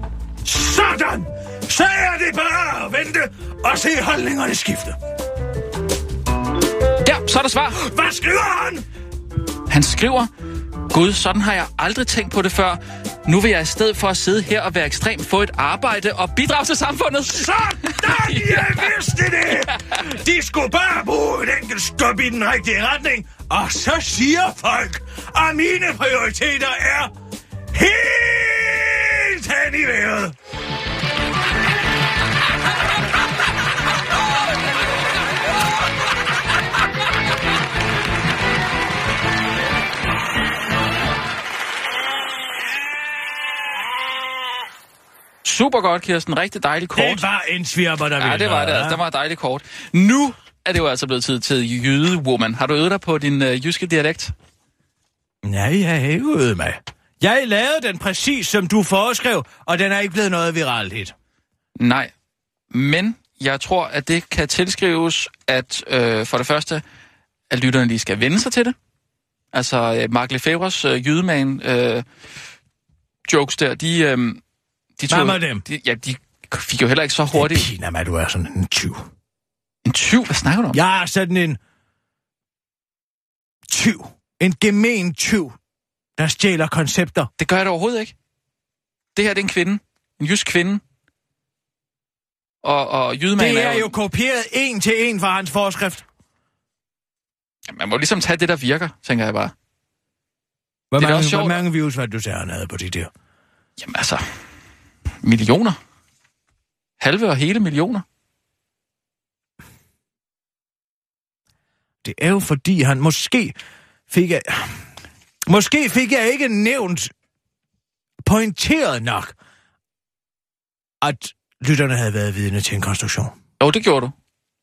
Speaker 4: Sådan! Så er det bare at vente og se holdningerne skifte.
Speaker 5: Der, så er der svar.
Speaker 4: Hvad skriver han?
Speaker 5: Han skriver, Gud, sådan har jeg aldrig tænkt på det før. Nu vil jeg i stedet for at sidde her og være ekstrem få et arbejde og bidrage til samfundet. [LAUGHS]
Speaker 4: Sådan! Jeg vidste det! De skulle bare bruge et enkelt skub i den rigtige retning. Og så siger folk, at mine prioriteter er helt hen i vejret.
Speaker 5: Super godt, Kirsten. Rigtig dejligt kort.
Speaker 4: Det var en svirper, der ville
Speaker 5: Ja, det var
Speaker 4: noget,
Speaker 5: det altså.
Speaker 4: hva'?
Speaker 5: Det var et dejligt kort. Nu er det jo altså blevet tid til jydewoman. Har du øvet dig på din øh, jyske dialekt?
Speaker 4: Nej, jeg har ikke øvet mig. Jeg lavede den præcis, som du foreskrev, og den er ikke blevet noget viralt hit.
Speaker 5: Nej. Men jeg tror, at det kan tilskrives, at øh, for det første, at lytterne lige skal vende sig til det. Altså, øh, Mark Lefebvre's øh, jydeman øh, jokes der, de... Øh, de
Speaker 4: Hvad med dem?
Speaker 5: De, ja, de fik jo heller ikke så
Speaker 4: Det
Speaker 5: hurtigt.
Speaker 4: piner mig, du er sådan en tyv.
Speaker 5: En tyv? Hvad snakker du om?
Speaker 4: Jeg er sådan en tyv. En gemen tyv, der stjæler koncepter.
Speaker 5: Det gør jeg da overhovedet ikke. Det her, det er en kvinde. En jysk kvinde. Og, og jydeman
Speaker 4: Det er jo kopieret en til en fra hans forskrift.
Speaker 5: Man må ligesom tage det, der virker, tænker jeg bare.
Speaker 4: Hvor
Speaker 5: Det er da
Speaker 4: mange,
Speaker 5: også
Speaker 4: hvor
Speaker 5: sjovt.
Speaker 4: mange views var det, du sagde, han havde på det der?
Speaker 5: Jamen altså, millioner. Halve og hele millioner.
Speaker 4: Det er jo fordi, han måske fik jeg... Måske fik jeg ikke nævnt pointeret nok, at lytterne havde været vidne til en konstruktion.
Speaker 5: Jo, det gjorde du.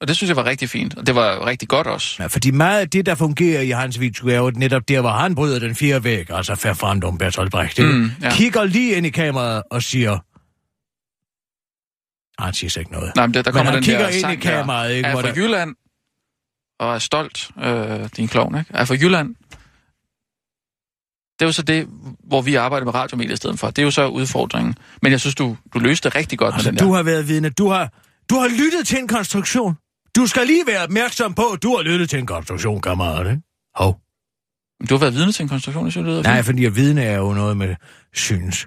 Speaker 5: Og det synes jeg var rigtig fint. Og det var rigtig godt også.
Speaker 4: Ja, fordi meget af det, der fungerer i hans video, er jo netop der, hvor han bryder den fire væg, altså Ferdinand Bertolt Brecht, mm,
Speaker 5: Mm,
Speaker 4: ja.
Speaker 5: ja.
Speaker 4: kigger lige ind i kameraet og siger... Ah, Han siger slet ikke noget.
Speaker 5: Nej, men der, der
Speaker 4: Men
Speaker 5: kommer
Speaker 4: han
Speaker 5: den der
Speaker 4: kigger ind i
Speaker 5: sang
Speaker 4: kameraet,
Speaker 5: der,
Speaker 4: ikke,
Speaker 5: Er
Speaker 4: hvor
Speaker 5: fra
Speaker 4: der-
Speaker 5: Jylland, og er stolt, øh, din klovn, ikke? Er fra Jylland. Det er jo så det, hvor vi arbejder med radiomedier i stedet for. Det er jo så udfordringen. Men jeg synes, du, du løste det rigtig godt
Speaker 4: Altså,
Speaker 5: med den der.
Speaker 4: du har været vidne. Du har, du har lyttet til en konstruktion. Du skal lige være opmærksom på, at du har lyttet til en konstruktion, kammerat, ikke? Hov.
Speaker 5: Men Du har været vidne til en konstruktion, jeg synes, det lyder
Speaker 4: Nej,
Speaker 5: fint.
Speaker 4: fordi at vidne er jo noget med syns.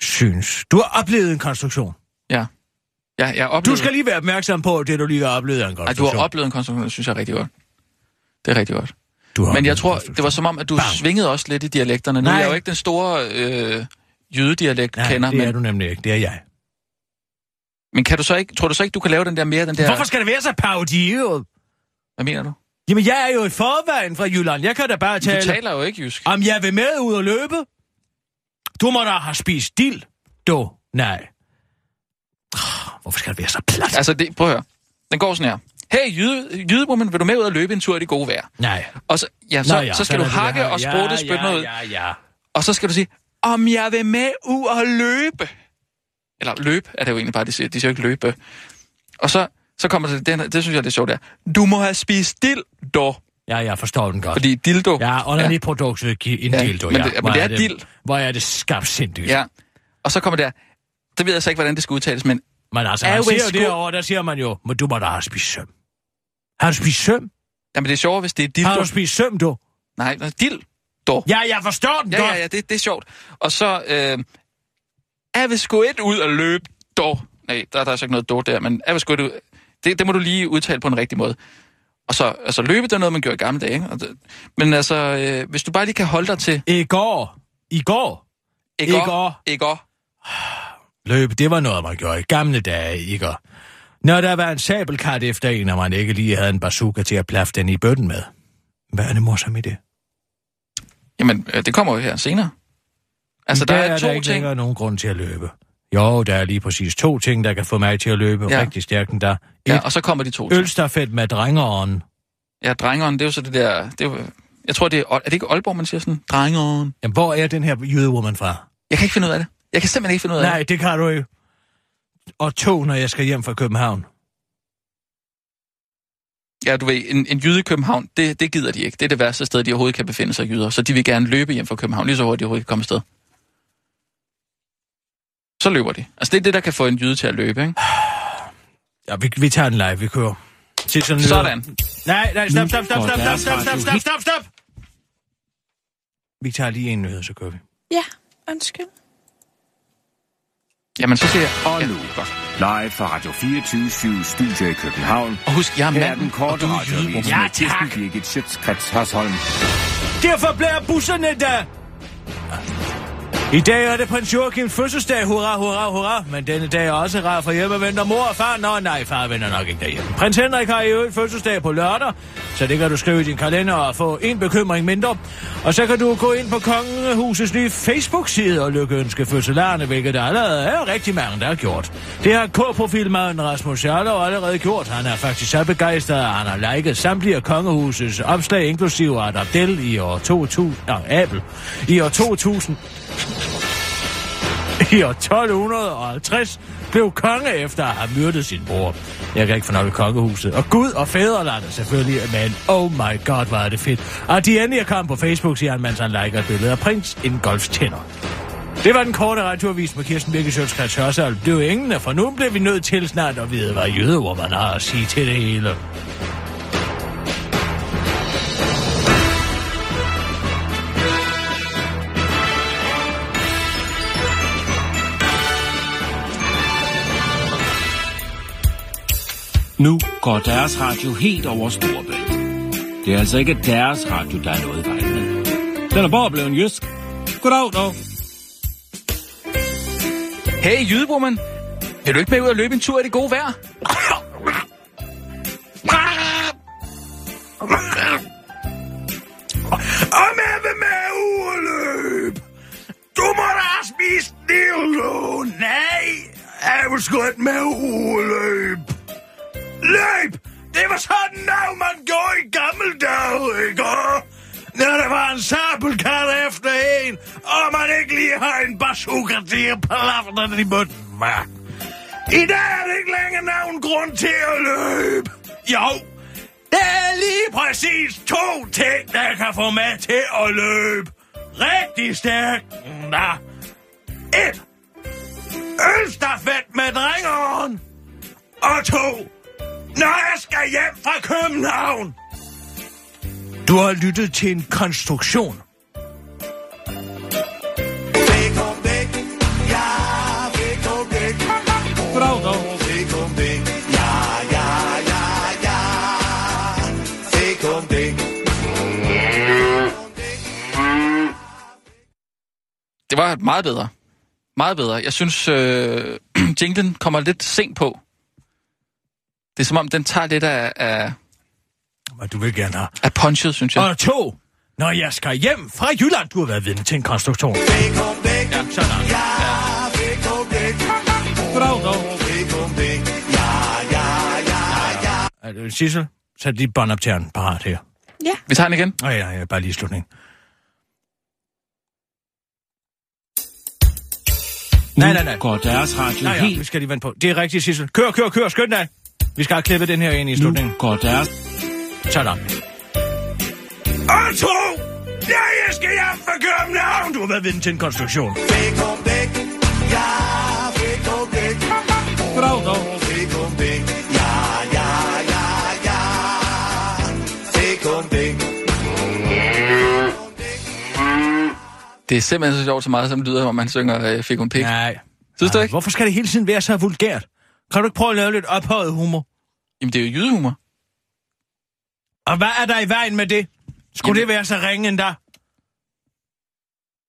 Speaker 4: Syns. Du har oplevet en konstruktion.
Speaker 5: Ja. Ja, jeg oplevede...
Speaker 4: Du skal lige være opmærksom på, at det du lige har oplevet er en
Speaker 5: Mm. Ej, du
Speaker 4: konstruktion.
Speaker 5: har oplevet en konstruktion, det synes jeg er rigtig godt. Det er rigtig godt.
Speaker 4: du har
Speaker 5: Men
Speaker 4: oplevet
Speaker 5: jeg
Speaker 4: en
Speaker 5: tror,
Speaker 4: konstruktion.
Speaker 5: det var som om, at du
Speaker 4: Bang.
Speaker 5: Bang. svingede også lidt i dialekterne. Nu
Speaker 4: Nej.
Speaker 5: er jeg jo ikke den store øh, jødedialekt
Speaker 4: Nej,
Speaker 5: kender,
Speaker 4: det er
Speaker 5: men,
Speaker 4: du nemlig ikke. Det er jeg.
Speaker 5: men kan du så ikke, tror du så ikke, du kan lave den der mere, den der...
Speaker 4: Hvorfor skal det være så parodieret?
Speaker 5: Hvad mener du?
Speaker 4: Jamen, jeg er jo i forvejen fra Jylland. Jeg kan da bare
Speaker 5: Men
Speaker 4: tale...
Speaker 5: Du taler jo ikke jysk.
Speaker 4: Om jeg vil med ud og løbe? Du må da have spist dild. Du, nej. Ah, Hvorfor skal det være så plat?
Speaker 5: Altså, det, prøv at høre. Den går sådan her. Hey, jyde, jydewoman, vil du med ud og løbe en tur i det gode vejr?
Speaker 4: Nej.
Speaker 5: Og så, ja, så,
Speaker 4: Nå
Speaker 5: ja, så
Speaker 4: sådan
Speaker 5: skal du
Speaker 4: er det
Speaker 5: hakke
Speaker 4: her.
Speaker 5: og sprutte ja, spytte
Speaker 4: ja,
Speaker 5: noget ud.
Speaker 4: Ja, ja,
Speaker 5: Og så skal du sige, om jeg vil med ud og løbe. Eller løb er det jo egentlig bare, de siger. De siger jo ikke løbe. Og så, så Så kommer det, den, her- det synes jeg, det er sjovt der. Du må have spist dildo,
Speaker 4: Ja, jeg forstår den godt.
Speaker 5: fordi dildo...
Speaker 4: Ja, underlig ja. produktet gi- en
Speaker 5: Ja,
Speaker 4: dildo,
Speaker 5: men
Speaker 4: ja.
Speaker 5: det- men
Speaker 4: Hvor
Speaker 5: det er dild.
Speaker 4: Hvor er det skabsindigt.
Speaker 5: ja. Og så kommer der... Det ved jeg så ikke, hvordan det skal udtales, men
Speaker 4: Men altså,
Speaker 5: Er
Speaker 4: han
Speaker 5: jo en
Speaker 4: siger jo
Speaker 5: sko-
Speaker 4: derovre, der siger man jo, men du må da have spist søm. Har du spist søm?
Speaker 5: jamen, det er sjovt, hvis det er dildo.
Speaker 4: Har du spist søm, du?
Speaker 5: Nej, nej, dildo.
Speaker 4: Ja, jeg forstår den
Speaker 5: Ja,
Speaker 4: godt.
Speaker 5: ja, ja, det, det er sjovt. Og så øh, er vi sgu et ud og løbe dog. Nej, der, der er så ikke noget dog der, men er vi sgu et ud... Det, det må du lige udtale på en rigtig måde. Og så, altså løbe, det er noget, man gjorde i gamle dage, ikke? Og det, men altså, øh, hvis du bare lige kan holde dig til...
Speaker 4: I går, i går,
Speaker 5: Ikke
Speaker 4: Ikke år.
Speaker 5: Ikke år.
Speaker 4: løb, det var noget, man gjorde i gamle dage, ikke? Når der var en sabelkat efter en, og man ikke lige havde en bazooka til at plaffe den i bøtten med. Hvad er det morsomt i det?
Speaker 5: Jamen, øh, det kommer jo her senere. Altså, der,
Speaker 4: Men
Speaker 5: er,
Speaker 4: der
Speaker 5: to
Speaker 4: ikke
Speaker 5: ting.
Speaker 4: længere nogen grund til at løbe. Jo, der er lige præcis to ting, der kan få mig til at løbe
Speaker 5: Ja.
Speaker 4: ja. rigtig stærkt endda.
Speaker 5: Ja,
Speaker 4: Et
Speaker 5: og så kommer de to
Speaker 4: ja,
Speaker 5: ting.
Speaker 4: ølstafet med drengeren.
Speaker 5: Ja, drengeren, det er jo så det der... Det er jo, jeg tror, det er... Ol- Er det ikke Aalborg, man siger sådan? Drengeren.
Speaker 4: Jamen, hvor er den her jødewoman fra?
Speaker 5: Jeg kan ikke finde ud af det. Jeg kan simpelthen ikke finde ud af
Speaker 4: Nej, det kan du ikke. Og to, når jeg skal hjem fra København.
Speaker 5: det. Ja, du ved, en, en jyde i København, det, det gider de ikke. Det er det værste sted, de overhovedet kan befinde sig jyder. Så de vil gerne løbe hjem fra København, lige så hurtigt de overhovedet kan komme afsted. Så løber de. Altså, det er det, der kan få en jyde til at løbe, ikke?
Speaker 4: Ja, vi, vi tager den live, vi kører. Se sådan, lyder-
Speaker 5: Sådan.
Speaker 4: Nej, nej, stop, stop, stop, stop, stop,
Speaker 9: Deres
Speaker 4: stop, stop,
Speaker 9: Radio
Speaker 4: stop, stop, stop. Vi tager lige en nyhed, så kører vi.
Speaker 7: Ja, undskyld.
Speaker 5: Jamen, så siger jeg...
Speaker 6: Og
Speaker 5: ja,
Speaker 6: nu.
Speaker 5: godt.
Speaker 6: Live fra Radio 24 Studio i København.
Speaker 5: Og husk, jeg er
Speaker 6: Her er den
Speaker 5: manden, og
Speaker 6: korte
Speaker 5: du er jyde.
Speaker 6: radiovis
Speaker 5: Bruno.
Speaker 4: Ja,
Speaker 6: med Kirsten
Speaker 4: tak.
Speaker 6: Birgit Schøtzgrads Hasholm.
Speaker 4: Derfor bliver busserne der. I dag er det prins Joachims fødselsdag. Hurra, hurra, hurra. Men denne dag er også rar, for hjemme venter mor og far. Nå nej, far vender nok ikke derhjemme. Prins Henrik har i øvrigt fødselsdag på lørdag, så det kan du skrive i din kalender og få en bekymring mindre. Og så kan du gå ind på Kongehusets nye Facebook-side og lykkeønske fødselarerne, hvilket der allerede er rigtig mange, der har gjort. Det har K-profilmanden Rasmus Jarlov allerede gjort. Han er faktisk så begejstret, at han har liket samtlige af Kongehusets opslag, inklusive Art Abdel i år 2000... Nå, Abel. I år 2000 i år 1250 blev konge efter at have myrdet sin bror. Jeg kan ikke fornøje kongehuset. Og Gud og fædrelandet selvfølgelig, men oh my god, hvor er det fedt. Og de endelig er kommet på Facebook, siger han, mens han liker et billede af prins i en golftænder. Det var den korte radioavis med Kirsten Birkesjønskrets Hørsholm. Det er jo ingen, og for nu bliver vi nødt til snart at vide, hvad jødeord man har at sige til det hele.
Speaker 9: Nu går deres radio helt over Storebælt. Det er altså ikke deres radio, der er noget i vejen med. Den er bare blevet jysk. Goddag dog.
Speaker 5: Hey, jydebrummen. Vil du ikke med ud og løbe en tur i det gode vejr?
Speaker 4: Om jeg vil med urløb. Du må da spise dildo. Nej, jeg vil sgu ikke med urløb. Løb! Det var sådan, at man gjorde i gamle dage, ikke? Når der var en sabelkat efter en, og man ikke lige har en bazooka til at plaffe den i munden, mand. I dag er det ikke længere nogen grund til at løbe. Jo, der er lige præcis to ting, der kan få mig til at løbe. Rigtig stærkt. Nå. Et. Ølstafet med drengeren. Og to. Når jeg skal hjem fra København. Du har lyttet til en konstruktion.
Speaker 9: Goddag dog.
Speaker 5: Det var meget bedre. Meget bedre. Jeg synes, øh, [CLEARS THROAT] jinglen kommer lidt sent på. Det er som om, den tager lidt af, af,
Speaker 4: Hvad du vil gerne have.
Speaker 5: af punchet, synes jeg.
Speaker 4: Og to. Når jeg skal hjem fra Jylland, du har været vidne til en konstruktion. Ja, sådan.
Speaker 9: Goddag dog.
Speaker 4: Øh, Sissel, sæt lige båndoptageren parat her.
Speaker 5: Vi tager den igen.
Speaker 4: Nej, nej, nej, bare lige i slutningen. Nej, nej, nej.
Speaker 9: Nu går deres radio
Speaker 4: Nej, ja, vi
Speaker 9: helt...
Speaker 4: Ah, skal lige vende på. Det er rigtigt, Sissel. Kør, kør, kør, skynd dig. Vi skal have klippet den her ind i
Speaker 9: Nu
Speaker 4: slutningen.
Speaker 9: går deres...
Speaker 4: Sådan. Otto! Ja, jeg skal hjem fra København! Du har været vidne til en konstruktion. Goddag, dog.
Speaker 5: Det er simpelthen så sjovt så meget, som det lyder, når man synger øh, Fik hun pik. Ja.
Speaker 4: Nej.
Speaker 5: Synes du
Speaker 4: Nej,
Speaker 5: ikke?
Speaker 4: Hvorfor skal det hele tiden være så vulgært? Kan du ikke prøve at lave lidt ophøjet humor?
Speaker 5: Jamen, det er jo jydehumor.
Speaker 4: Og hvad er der i vejen med det? Skulle Jamen.
Speaker 5: Jamen-
Speaker 4: det være så ringe endda?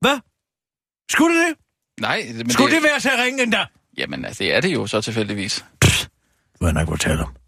Speaker 4: Hvad? Skulle det?
Speaker 5: Nej, men
Speaker 4: Skulle det,
Speaker 5: det
Speaker 4: være så ringe endda?
Speaker 5: Jamen, altså, det er det jo så tilfældigvis.
Speaker 4: Hvad er det, du taler om?